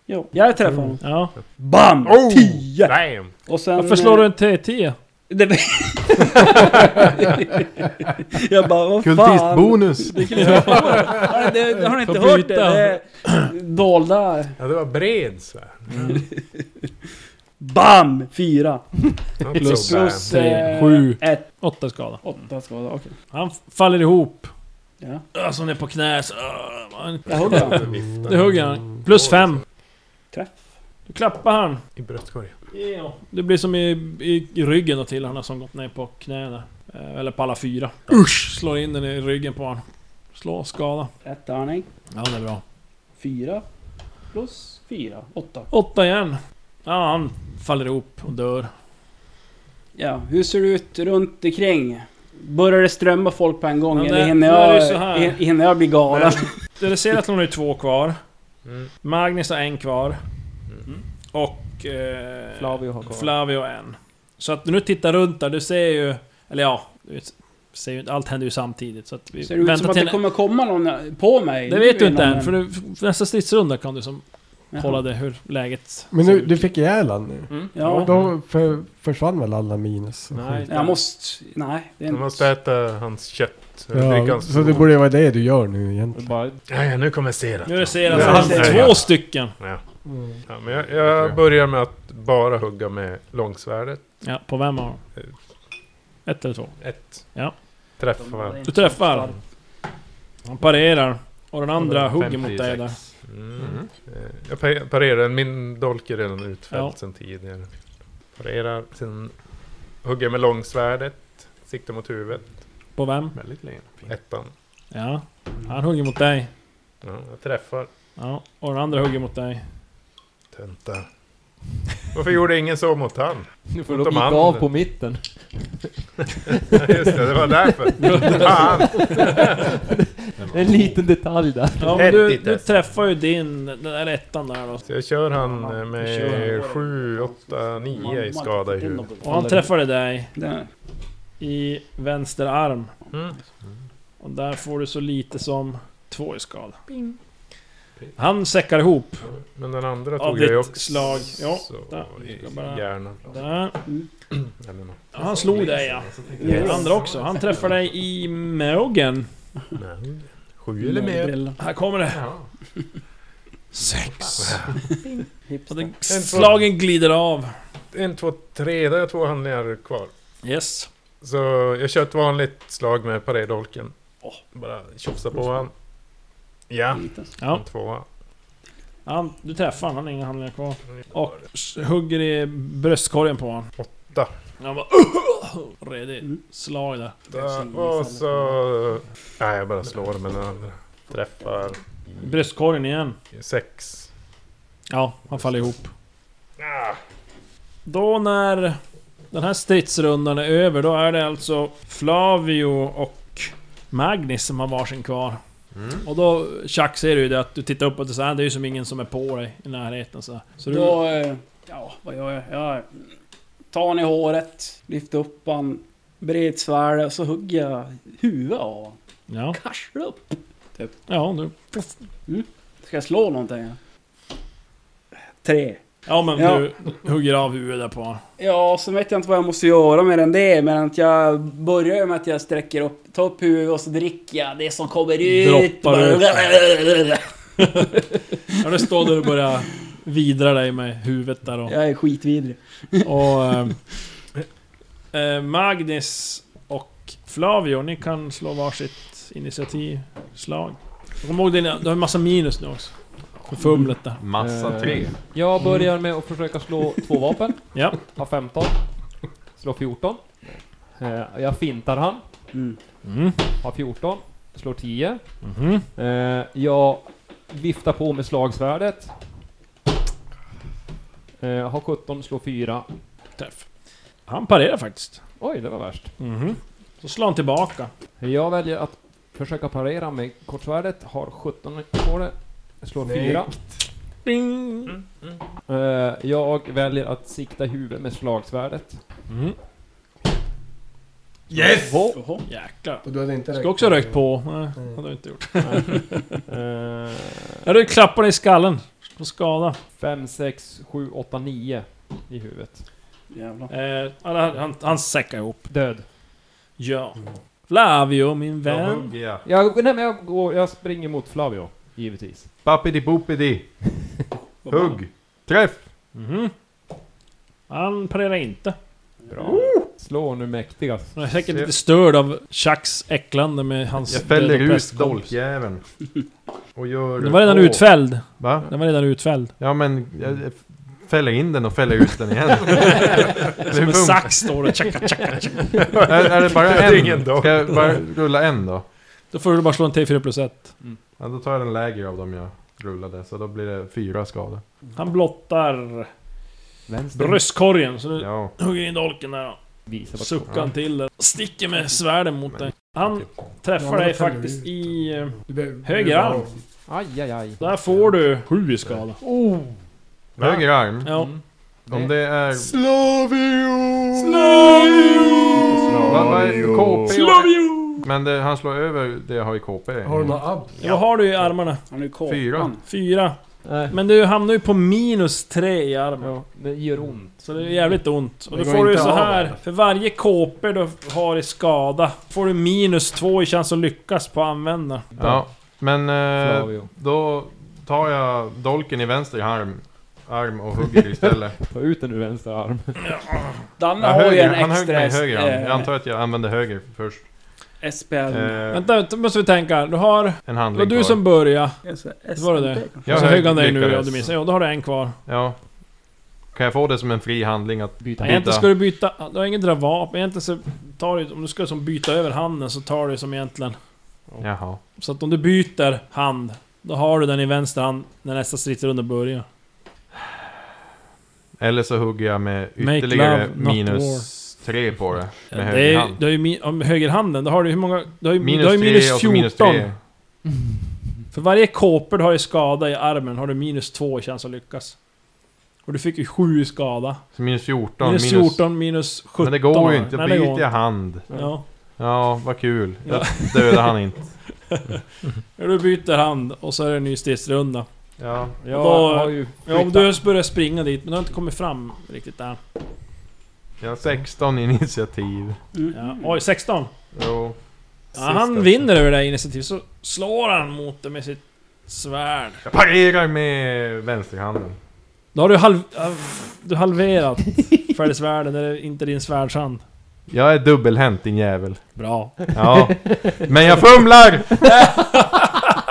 Speaker 2: Jo, jag träffar honom.
Speaker 4: Ja.
Speaker 2: BAM!
Speaker 5: Oh!
Speaker 2: 10!
Speaker 5: Damn!
Speaker 2: Och sen...
Speaker 4: Mm.
Speaker 2: eh,
Speaker 4: Varför slår du en T10?
Speaker 2: *laughs*
Speaker 4: *laughs*
Speaker 2: Det... jag bara, vad fan?
Speaker 7: Kultistbonus!
Speaker 2: Det kan du inte få. Har ni- Har ni inte
Speaker 4: Får
Speaker 2: hört det?
Speaker 4: byta.
Speaker 2: Det är dolda...
Speaker 5: Ja, det var bred så här.
Speaker 2: BAM! Fyra.
Speaker 5: Not
Speaker 4: Plus-
Speaker 5: so bad.
Speaker 2: Plus
Speaker 4: Tre,
Speaker 2: eh,
Speaker 4: sju.
Speaker 2: Ett.
Speaker 4: Åtta i skada.
Speaker 2: Åtta skada, okej.
Speaker 4: Han f- faller ihop.
Speaker 2: Ja.
Speaker 4: Alltså ner på knä. Så, ah, man-
Speaker 2: Jag hugger honom.
Speaker 4: det hugger han. Plus fem.
Speaker 2: Träff.
Speaker 4: Du klappar han.
Speaker 5: I bröstkorgen.
Speaker 4: Det blir som i, i, i ryggen då till han som gått ner på knäna. Eh, Eller på alla fyra. Usch! Slår in den i ryggen på honom. Slå, skada.
Speaker 2: Ett tärning.
Speaker 4: Ja, det är bra.
Speaker 2: Fyra. Plus fyra. Åtta.
Speaker 4: Åtta igen. Ja, han faller ihop och dör.
Speaker 2: Ja, hur ser det ut runt omkring? Börjar det strömma folk på en gång
Speaker 4: Men
Speaker 2: eller
Speaker 4: det-
Speaker 2: hinner
Speaker 4: nu är det ju
Speaker 2: jag,
Speaker 4: så här.
Speaker 2: hin- hinner jag bli galen?
Speaker 4: Det ser att hon är två kvar.
Speaker 5: Mm.
Speaker 4: Magnus har en kvar.
Speaker 2: Mm.
Speaker 4: Och... Eh,
Speaker 3: Flavio har kvar.
Speaker 4: Flavio en. Så att nu tittar runt där, du ser ju... Eller ja, du ser ju, inte- allt händer ju samtidigt. Så att vi
Speaker 2: Ser det ut som att
Speaker 4: till-
Speaker 2: det kommer komma någon på mig?
Speaker 4: Det
Speaker 2: Nu
Speaker 4: vet du inte
Speaker 2: innan
Speaker 4: än, för du, för nästa stridsrunda kan du som
Speaker 2: Jaha.
Speaker 4: kolla det, hur läget
Speaker 6: Men
Speaker 4: ser
Speaker 6: nu,
Speaker 4: ut.
Speaker 6: du fick ihjäl han nu.
Speaker 2: Ja.
Speaker 6: Då för, försvann väl alla minus? och
Speaker 3: Nej.
Speaker 6: skit.
Speaker 2: Jag måste... Nej, det är
Speaker 5: Du
Speaker 2: inte...
Speaker 5: måste äta hans kött. Dricka
Speaker 6: Ja,
Speaker 5: hans
Speaker 6: så det borde vara det du gör nu egentligen.
Speaker 3: Bara,
Speaker 5: Ja, ja, nu kommer jag se det.
Speaker 4: Nu är det ser
Speaker 5: Ja,
Speaker 4: alltså
Speaker 5: ja,
Speaker 4: två
Speaker 5: ja.
Speaker 4: stycken.
Speaker 5: Ja, men jag, jag börjar med att bara hugga med långsvärdet.
Speaker 4: Ja, på vem av dem? Ett eller två.
Speaker 5: Ett.
Speaker 4: Ja.
Speaker 5: Träffar.
Speaker 4: Du träffar. Han parerar. Och den andra hugger
Speaker 5: 56.
Speaker 4: mot dig där.
Speaker 5: Mm. Eh, Jag pa- parerar, min dolk är redan utfälld
Speaker 4: Ja.
Speaker 5: sedan tidigare. Parerar, sen hugger jag med långsvärdet. Siktar mot huvudet.
Speaker 4: På vem?
Speaker 7: Väldigt länge.
Speaker 5: Ettan.
Speaker 4: Ja. Han hugger mot dig.
Speaker 5: Ja, jag träffar.
Speaker 4: Ja. Och den andra hugger mot dig.
Speaker 5: Töntar. Varför gjorde ingen så mot han?
Speaker 3: nu får
Speaker 5: Utom
Speaker 3: de gick
Speaker 5: handen.
Speaker 3: av på mitten.
Speaker 5: Just det, det
Speaker 4: *laughs*
Speaker 5: var därför. Fan!
Speaker 3: En liten detalj där.
Speaker 4: Ja, men du,
Speaker 5: Ett i
Speaker 4: du
Speaker 5: test.
Speaker 4: träffar ju din... Den där ettan där då.
Speaker 5: Så jag kör han eh,
Speaker 4: Vi kör
Speaker 5: med 7, 8, 9 i
Speaker 2: Man-
Speaker 5: skada i
Speaker 2: man-
Speaker 5: huvudet.
Speaker 4: Och han träffade dig
Speaker 2: Där.
Speaker 4: i vänster arm.
Speaker 5: Mm.
Speaker 4: Och där får du så lite som två i skada. Han säckar ihop.
Speaker 5: Men den andra
Speaker 4: Av
Speaker 5: tog jag ju
Speaker 4: ditt
Speaker 5: också.
Speaker 4: slag. Ja, där.
Speaker 5: I
Speaker 4: Ska bara-
Speaker 5: hjärnan.
Speaker 4: Där.
Speaker 5: Eller nåt.
Speaker 4: Ja, Han slog dig ja. Den andra också. Han träffar dig i magen.
Speaker 5: Men, Sju eller mer.
Speaker 2: Brilla.
Speaker 4: Här kommer det.
Speaker 5: Ja.
Speaker 4: Sex. Och
Speaker 2: Hipster.
Speaker 4: den slagen glider av.
Speaker 5: En, två, tre. Där har jag två handlingar kvar.
Speaker 4: Yes.
Speaker 5: Så jag kör ett vanligt slag med paredolken. Bara tjofsa på han. Ja,
Speaker 4: Ja.
Speaker 5: en tvåa.
Speaker 4: Han, du träffar han, han har inga handlingar kvar. Och s- hugger i bröstkorgen på honom.
Speaker 5: Åtta.
Speaker 4: Han bara... *clears throat* Redig
Speaker 2: Mm.
Speaker 4: slag där.
Speaker 5: Där, Och så... Nej, jag bara slår med den andra. Träffar
Speaker 4: Bröstkorgen igen.
Speaker 5: sex.
Speaker 4: Ja, han faller ihop.
Speaker 5: Ah,
Speaker 4: Då när den här stridsrundan är över, då är det alltså Flavio och Magnus som har varsin kvar.
Speaker 5: Mm.
Speaker 4: Och då, Chuck, ser du ju det att du tittar uppåt och så här, det är ju som ingen som är på dig i närheten så. här. Så du,
Speaker 2: Då... eh, Ja, vad gör jag? Jag tar han i håret, lyfter upp han, bred svärd och så hugger jag huvudet av honom.
Speaker 4: ja,
Speaker 2: Karslar upp.
Speaker 4: ja, du.
Speaker 2: Ska jag slå någonting? Tre.
Speaker 4: Ja men
Speaker 2: Ja.
Speaker 4: du hugger av huvudet på
Speaker 2: Ja, så vet jag inte vad jag måste göra mer än det, men att jag börjar ju med att jag sträcker upp, tar upp huvudet och så dricker jag det som kommer ut.
Speaker 4: Droppar
Speaker 2: *laughs* Bara-
Speaker 4: Ja, det står där och börjar vidra dig med huvudet där och...
Speaker 2: Jag är skitvidrig.
Speaker 4: och ehm, eh, Magnus och Flavio, ni kan slå varsitt initiativslag. Kom ihåg dina, du har en massa minus nu också. För fumlet där.
Speaker 7: Massa
Speaker 3: Eh,
Speaker 7: tre.
Speaker 3: Jag börjar med att försöka slå två vapen.
Speaker 4: Ja.
Speaker 3: Har 15. Slår 14. Eh, Jag fintar han.
Speaker 2: Mm.
Speaker 4: Mm.
Speaker 3: Har 14. Slår 10.
Speaker 4: Mhm.
Speaker 3: Eh, Jag viftar på med slagsvärdet. Eh, Har 17, slår 4.
Speaker 4: Träff. Han parerar faktiskt.
Speaker 3: Oj, det var värst.
Speaker 4: Mhm. Så slår han tillbaka.
Speaker 3: Jag väljer att försöka parera med kortsvärdet. Har 17 på det. Slår
Speaker 6: Nej.
Speaker 3: 4.
Speaker 4: Ding!
Speaker 3: Eh, Jag väljer att sikta huvudet med slagsvärdet.
Speaker 4: Mm.
Speaker 6: Yes!
Speaker 3: Två.
Speaker 4: Oho, jäklar.
Speaker 6: Och du hade inte
Speaker 4: Ska också ha rökt på. Nej,
Speaker 6: Mm.
Speaker 4: hade jag inte gjort.
Speaker 3: Eh,
Speaker 4: Ja, du klappar i skallen. På skada.
Speaker 3: fem, sex, sju, åtta, nio i huvudet.
Speaker 2: Jävlar.
Speaker 4: Eh, han, han, han säckar ihop.
Speaker 3: Död.
Speaker 4: Ja. Flavio, min
Speaker 7: Då
Speaker 4: vän.
Speaker 7: hugger Mm. jag.
Speaker 3: Jag, nej, men jag, går, jag springer mot Flavio, givetvis.
Speaker 7: Pappidi boppidi. Hugg. Träff.
Speaker 4: Mhm. Han parerar inte.
Speaker 3: Bra. Slå nu mäktigast.
Speaker 4: Han är säkert lite störd av Chucks äcklande med hans
Speaker 7: Jag fäller
Speaker 4: döda
Speaker 7: ut
Speaker 4: prästkompis.
Speaker 7: dolkjäveln. Och gör...
Speaker 4: Den var redan
Speaker 7: Åh.
Speaker 4: utfälld.
Speaker 7: Va?
Speaker 4: Den var redan utfälld.
Speaker 7: Ja men... Jag jag fäller in den och fäller ut den igen.
Speaker 4: Som en
Speaker 7: funkar.
Speaker 4: sax står det. Tjacka, tjacka, tjacka.
Speaker 7: är, är det bara
Speaker 5: Det är ingen
Speaker 7: en?
Speaker 5: dolk.
Speaker 7: Ska jag bara rulla en då?
Speaker 4: Då får du bara slå en T4 plus 1.
Speaker 7: Ja, då tar jag den lägre av dem jag rullade. Så då blir det fyra skador.
Speaker 4: Han blottar
Speaker 3: Vänster.
Speaker 4: bröstkorgen. Så du
Speaker 7: Ja.
Speaker 4: hugger in dolken där.
Speaker 3: Visa
Speaker 4: då.
Speaker 3: vart-
Speaker 4: Suckar han till dig. Sticker med svärden mot dig. Han
Speaker 6: Ja,
Speaker 4: träffar
Speaker 6: men då
Speaker 4: dig
Speaker 6: fäller
Speaker 4: faktiskt
Speaker 6: vi
Speaker 4: i... eh,
Speaker 6: Du behöver-
Speaker 4: Höger arm.
Speaker 3: Aj, aj, aj.
Speaker 4: Där får du sju i skada.
Speaker 7: Höger arm.
Speaker 4: Ja.
Speaker 3: Mm.
Speaker 7: Om det är...
Speaker 5: Slavio!
Speaker 7: Vad vad är det för KP?
Speaker 4: Flavio!
Speaker 7: Men det, han slår över det jag har i KP.
Speaker 6: Har du några abs?
Speaker 4: Vad har du i armarna?
Speaker 2: Han är ju kåpan.
Speaker 7: Fyra.
Speaker 4: Fyra.
Speaker 3: Nej.
Speaker 4: Men du hamnar ju på minus tre i armen.
Speaker 3: Eh, Ja, det gör ont.
Speaker 4: Så det är jävligt ont. Och
Speaker 6: Det
Speaker 4: då
Speaker 6: går
Speaker 4: får du ju
Speaker 6: inte
Speaker 4: så
Speaker 6: av
Speaker 4: här
Speaker 6: eller?
Speaker 4: För varje KP du har i skada får du minus två i chans att lyckas på att använda.
Speaker 7: Ja. Men eh,
Speaker 3: Flavio.
Speaker 7: då tar jag dolken i vänster arm, arm och hugger
Speaker 4: *laughs*
Speaker 7: istället.
Speaker 3: Ta ut den ur vänster arm.
Speaker 2: Danne
Speaker 7: Ja,
Speaker 2: har ju
Speaker 7: höger,
Speaker 2: en
Speaker 7: han högg
Speaker 2: extra
Speaker 7: mig i höger arm. Jag
Speaker 2: eh,
Speaker 7: antar att jag använder höger först.
Speaker 2: SPL.
Speaker 7: Eh,
Speaker 4: Vänta, vänta, måste vi tänka. här. Du har... Det
Speaker 7: en
Speaker 4: var
Speaker 7: handling
Speaker 4: Mm. du
Speaker 7: kvar.
Speaker 4: som började.
Speaker 2: Det
Speaker 4: var det där.
Speaker 7: Jag
Speaker 4: så
Speaker 7: hög-
Speaker 4: högg han dig nu, ja
Speaker 7: lyckades.
Speaker 4: du missade. Ja, då har du en kvar.
Speaker 7: Ja. Kan jag få det som en fri handling att...
Speaker 3: Byta hand.
Speaker 4: Egentligen ska du byta... Du har inget dra vapen. Egentligen så tar du... Om du ska som byta över handen så tar du som egentligen...
Speaker 7: Jaha.
Speaker 4: Så att om du byter hand, då har du den i vänster hand när nästa stridsrunda börjar.
Speaker 7: Eller så hugger jag med
Speaker 4: Make
Speaker 7: ytterligare
Speaker 4: love, not
Speaker 7: minus tre på det. Med
Speaker 4: det är,
Speaker 7: höger
Speaker 4: ju-
Speaker 7: hand.
Speaker 4: Du har ju min, om högerhanden, då har du hur många... Du har ju minus, du har
Speaker 7: Minus
Speaker 4: ju minus 14.
Speaker 7: tre och så minus tre.
Speaker 4: För varje kåpor du har i skada i armen har du minus 2 i chans att lyckas. Och du fick ju 7 i skada.
Speaker 7: Så minus 14.
Speaker 4: Minus 14, minus 17.
Speaker 7: Men det går ju inte. Då
Speaker 4: Nej, det går
Speaker 7: byter
Speaker 4: inte.
Speaker 7: jag hand.
Speaker 4: Ja.
Speaker 7: Ja, vad kul. Jag dödade han inte.
Speaker 4: Ja, Du byter hand och så är det en ny stridsrunda.
Speaker 7: Ja.
Speaker 3: Jag
Speaker 4: Då-
Speaker 3: har ju
Speaker 4: Ja, om
Speaker 3: flyttat.
Speaker 4: du ens börjar springa dit, men du har inte kommit fram riktigt där.
Speaker 7: *laughs* Jag har 16 initiativ.
Speaker 2: Mm.
Speaker 4: Ja.
Speaker 7: Mm.
Speaker 4: Oj, 16.
Speaker 7: Jo.
Speaker 4: Ja, han vinner över det här initiativet, så slår han mot dig med sitt svärd.
Speaker 7: Jag parerar med vänsterhanden.
Speaker 4: Då har du, halv, äh, du halverat färdigsvärden, det är inte din svärdshand.
Speaker 7: Jag är dubbelhänt din jävel.
Speaker 4: Bra.
Speaker 7: Ja. *laughs* Men jag *laughs* fumlar! 20!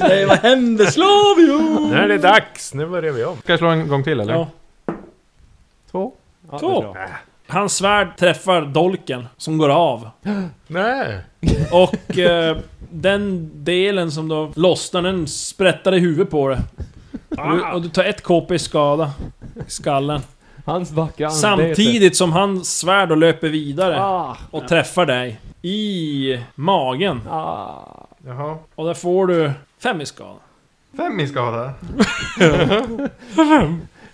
Speaker 2: Nej, vad händer? Slavio!
Speaker 5: Nu är det dags, nu börjar vi om.
Speaker 7: Ska jag slå en gång till eller?
Speaker 4: Ja.
Speaker 7: Två.
Speaker 3: Ja, det
Speaker 4: Två.
Speaker 3: är bra.
Speaker 4: Hans svärd träffar dolken som går av.
Speaker 5: Nej.
Speaker 4: Och eh, den delen som då lossnar, den sprättar i huvudet på dig. Och du, och du tar ett KP i skada. I skallen.
Speaker 3: Hans vackra anbete.
Speaker 4: Samtidigt som han svär då löper vidare
Speaker 3: Ah,
Speaker 4: och träffar dig i magen.
Speaker 3: ah.
Speaker 7: Jaha.
Speaker 4: Och där får du fem i skada.
Speaker 7: Fem i skada.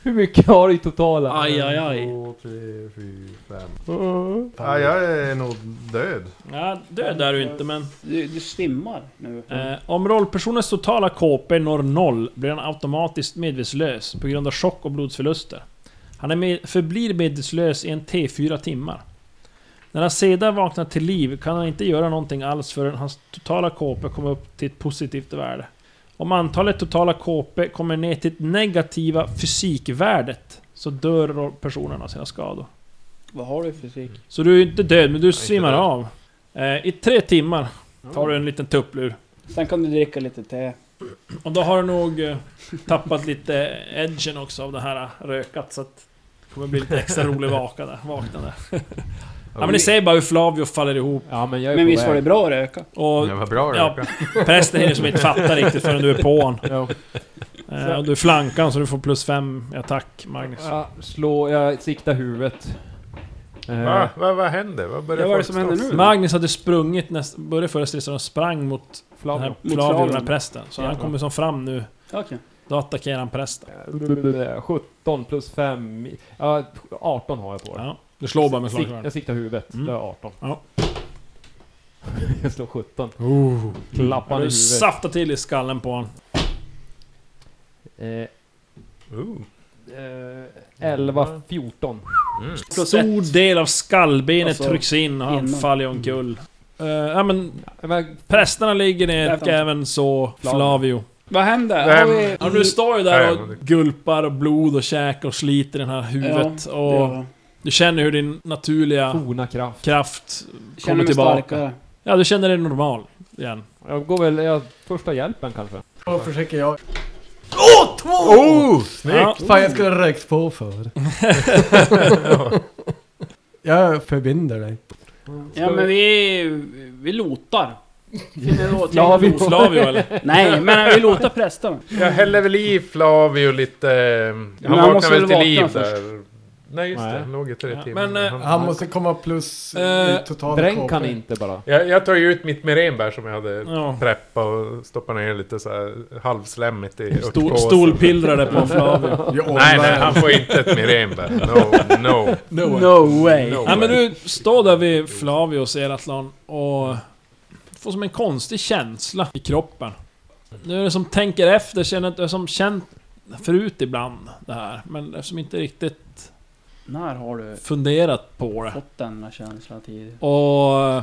Speaker 3: Hur mycket har du i totala?
Speaker 4: Aj, aj, aj.
Speaker 7: Två, tre, fyra, fem.
Speaker 3: Mm.
Speaker 7: Ja, jag är nog död.
Speaker 4: Ja, död är du inte men...
Speaker 2: Du, du svimmar nu.
Speaker 4: Eh, om rollpersonens totala KP når noll blir han automatiskt medvetslös på grund av chock och blodsförluster. Han är med, förblir medvetslös i en T4 timmar. När han sedan vaknar till liv kan han inte göra någonting alls förrän hans totala KP kommer upp till ett positivt värde. Om antalet totala KP kommer ner till det negativa fysikvärdet så dör personen av sina skador.
Speaker 2: Vad har du i fysik?
Speaker 4: Så du är inte död, men du
Speaker 5: inte
Speaker 4: svimmar
Speaker 5: död.
Speaker 4: av. Eh, I tre timmar tar du en liten tupplur.
Speaker 2: Sen kan du dricka lite te.
Speaker 4: Och då har du nog eh, tappat lite edgen också av det här eh, rökat så att det kommer bli lite extra rolig vaka där, vakna
Speaker 3: *laughs*
Speaker 4: där. Ja men ni ser bara hur Flavio faller ihop
Speaker 3: Ja men jag är
Speaker 2: Men
Speaker 3: på
Speaker 2: visst var det
Speaker 3: väg.
Speaker 2: bra att röka?
Speaker 4: och
Speaker 7: Det var bra
Speaker 4: Ja.
Speaker 7: Rebecca.
Speaker 4: prästen hinner som inte fattar riktigt förrän du är på
Speaker 3: *laughs*
Speaker 4: honom.
Speaker 3: Ja.
Speaker 4: Eh, och du flankar honom så du får plus fem i attack Magnus.
Speaker 3: Jag slår, jag siktar huvudet. Eh,
Speaker 5: Va? Va? Vad händer? Vad börjar
Speaker 2: Ja, vad är det
Speaker 5: folk
Speaker 2: som händer
Speaker 5: slåss?
Speaker 2: nu?
Speaker 4: Magnus hade sprungit, näst, började förra stridsdagen och sprang mot den här
Speaker 3: Flavio.
Speaker 4: Flavio, den här
Speaker 2: Flavio.
Speaker 4: prästen. Så han
Speaker 3: Ja.
Speaker 4: kommer som fram nu.
Speaker 2: Okej.
Speaker 4: Då attackerar han prästen.
Speaker 3: Eh, 17 plus 5, ja 18 har jag på det.
Speaker 4: Ja. Du slår bara med
Speaker 3: Sik,
Speaker 4: slagskärmen.
Speaker 3: jag siktar huvudet,
Speaker 4: Mm.
Speaker 3: det är 18.
Speaker 4: Ja.
Speaker 3: *laughs* jag slår 17. Klappar i
Speaker 4: Oh. Du
Speaker 3: huvudet.
Speaker 4: saftar till i skallen på honom.
Speaker 3: Eh,
Speaker 5: Ooh.
Speaker 3: eh, 11, 14.
Speaker 5: Mm.
Speaker 4: Stor del av skallbenet
Speaker 2: Alltså,
Speaker 4: trycks in och han
Speaker 2: innan.
Speaker 4: faller omkull. Eh, ja men
Speaker 3: Ja, men
Speaker 4: prästerna ligger ner
Speaker 2: Där
Speaker 4: och
Speaker 2: fanns-
Speaker 4: även så
Speaker 3: Flavio.
Speaker 4: Flavio.
Speaker 2: Vad händer?
Speaker 5: Nej,
Speaker 2: Har vi...
Speaker 5: men-
Speaker 4: Ja, du står ju där och
Speaker 5: Mm.
Speaker 4: gulpar och blod och käkar och sliter i det här huvudet.
Speaker 2: Det Oh. gör
Speaker 4: och
Speaker 2: jag.
Speaker 4: du känner hur din naturliga
Speaker 3: forna kraft.
Speaker 4: kraft...
Speaker 2: Känner mig
Speaker 4: tillbaka.
Speaker 2: starkare.
Speaker 4: Ja, du känner dig normal igen.
Speaker 3: Jag går väl, jag, första hjälpen kanske.
Speaker 6: Då försöker jag...
Speaker 5: Oh! Snyggt!
Speaker 4: Ja,
Speaker 6: Fan, jag skulle ha räckt på *laughs* för. jag förbinder dig.
Speaker 2: Ja men vi... Vi lotar. Finner då till-
Speaker 3: *laughs* Ja, vi-
Speaker 4: Flavio eller?
Speaker 2: Nej, men vi lotar prästen.
Speaker 5: Jag häller väl i Flavio lite... eh, Han
Speaker 2: han måste
Speaker 5: vaknar
Speaker 2: väl
Speaker 5: väl till
Speaker 2: vakna
Speaker 5: liv
Speaker 2: först.
Speaker 5: där. Nej just
Speaker 3: Nej.
Speaker 5: det, han låg i tre
Speaker 4: Ja,
Speaker 5: timmar.
Speaker 4: men, eh,
Speaker 5: Han-
Speaker 6: Han måste komma plus
Speaker 4: Eh,
Speaker 6: i total
Speaker 3: Dränk
Speaker 6: KP.
Speaker 3: kan inte bara.
Speaker 5: jag, jag tar ju ut mitt merenbär som jag hade
Speaker 4: Ja.
Speaker 5: preppat och stoppar ner lite så här halvslemmigt i
Speaker 4: Stol,
Speaker 5: örtpåsen.
Speaker 4: stolpillrade på Flavio.
Speaker 6: Jag
Speaker 5: Nej, nej,
Speaker 6: ordnar-
Speaker 5: han får inte ett merenbär. No,
Speaker 4: *laughs*
Speaker 5: no.
Speaker 2: *laughs* No way.
Speaker 5: no
Speaker 4: Nej men
Speaker 5: way.
Speaker 4: du står där vid Flavio och ser Atlan och får som en konstig känsla i kroppen. Nu är det som tänker efter, känner att du har som känt förut ibland det här. Men eftersom inte riktigt
Speaker 2: När har du
Speaker 4: funderat på det.
Speaker 2: fått denna känsla tidigare?
Speaker 4: Och...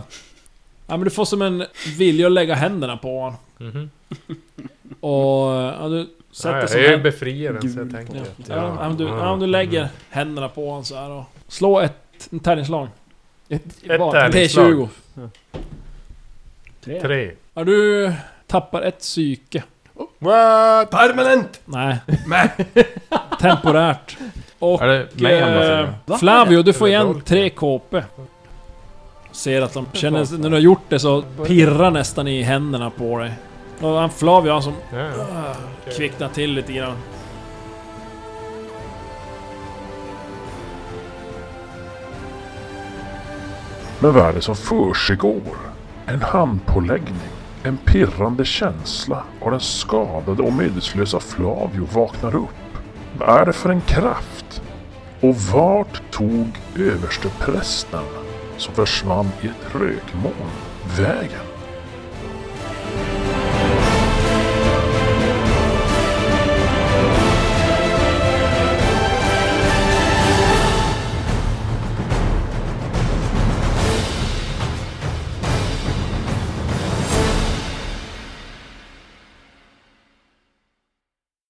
Speaker 4: Ja men du får som en vilja att lägga händerna på honom.
Speaker 5: Mhm.
Speaker 4: Och... Ja, du
Speaker 5: Nej,
Speaker 4: sätter som
Speaker 5: jag är Mm. ju
Speaker 4: händer...
Speaker 5: befriaren så jag tänker
Speaker 4: Ja,
Speaker 5: att...
Speaker 4: ja, men du, ja, om du lägger händerna på honom så här och... Slå ett en tärningsslag.
Speaker 5: Ett
Speaker 3: Vad?
Speaker 5: där. Tärningsslag.
Speaker 4: T20.
Speaker 2: Tre?
Speaker 5: Tre.
Speaker 4: Ja, du tappar ett psyke.
Speaker 5: What?
Speaker 6: Permanent!
Speaker 4: Nej. *laughs* Temporärt. Och...
Speaker 7: Är det mig han måste
Speaker 4: Eh,
Speaker 7: göra?
Speaker 4: Flavio, du får
Speaker 5: Eller
Speaker 4: igen
Speaker 5: roll.
Speaker 4: tre KP. Ser att de känner... När du har gjort det så pirrar nästan i händerna på dig. Och han Flavio, han som Ah,
Speaker 5: Ja.
Speaker 4: kvicknar till lite grann.
Speaker 1: Men vad är det som försiggår? En handpåläggning, en pirrande känsla och den skadade och medvetslösa Flavio vaknar upp. Vad är det för en kraft? Och vart tog översteprästen som försvann i ett rökmoln vägen?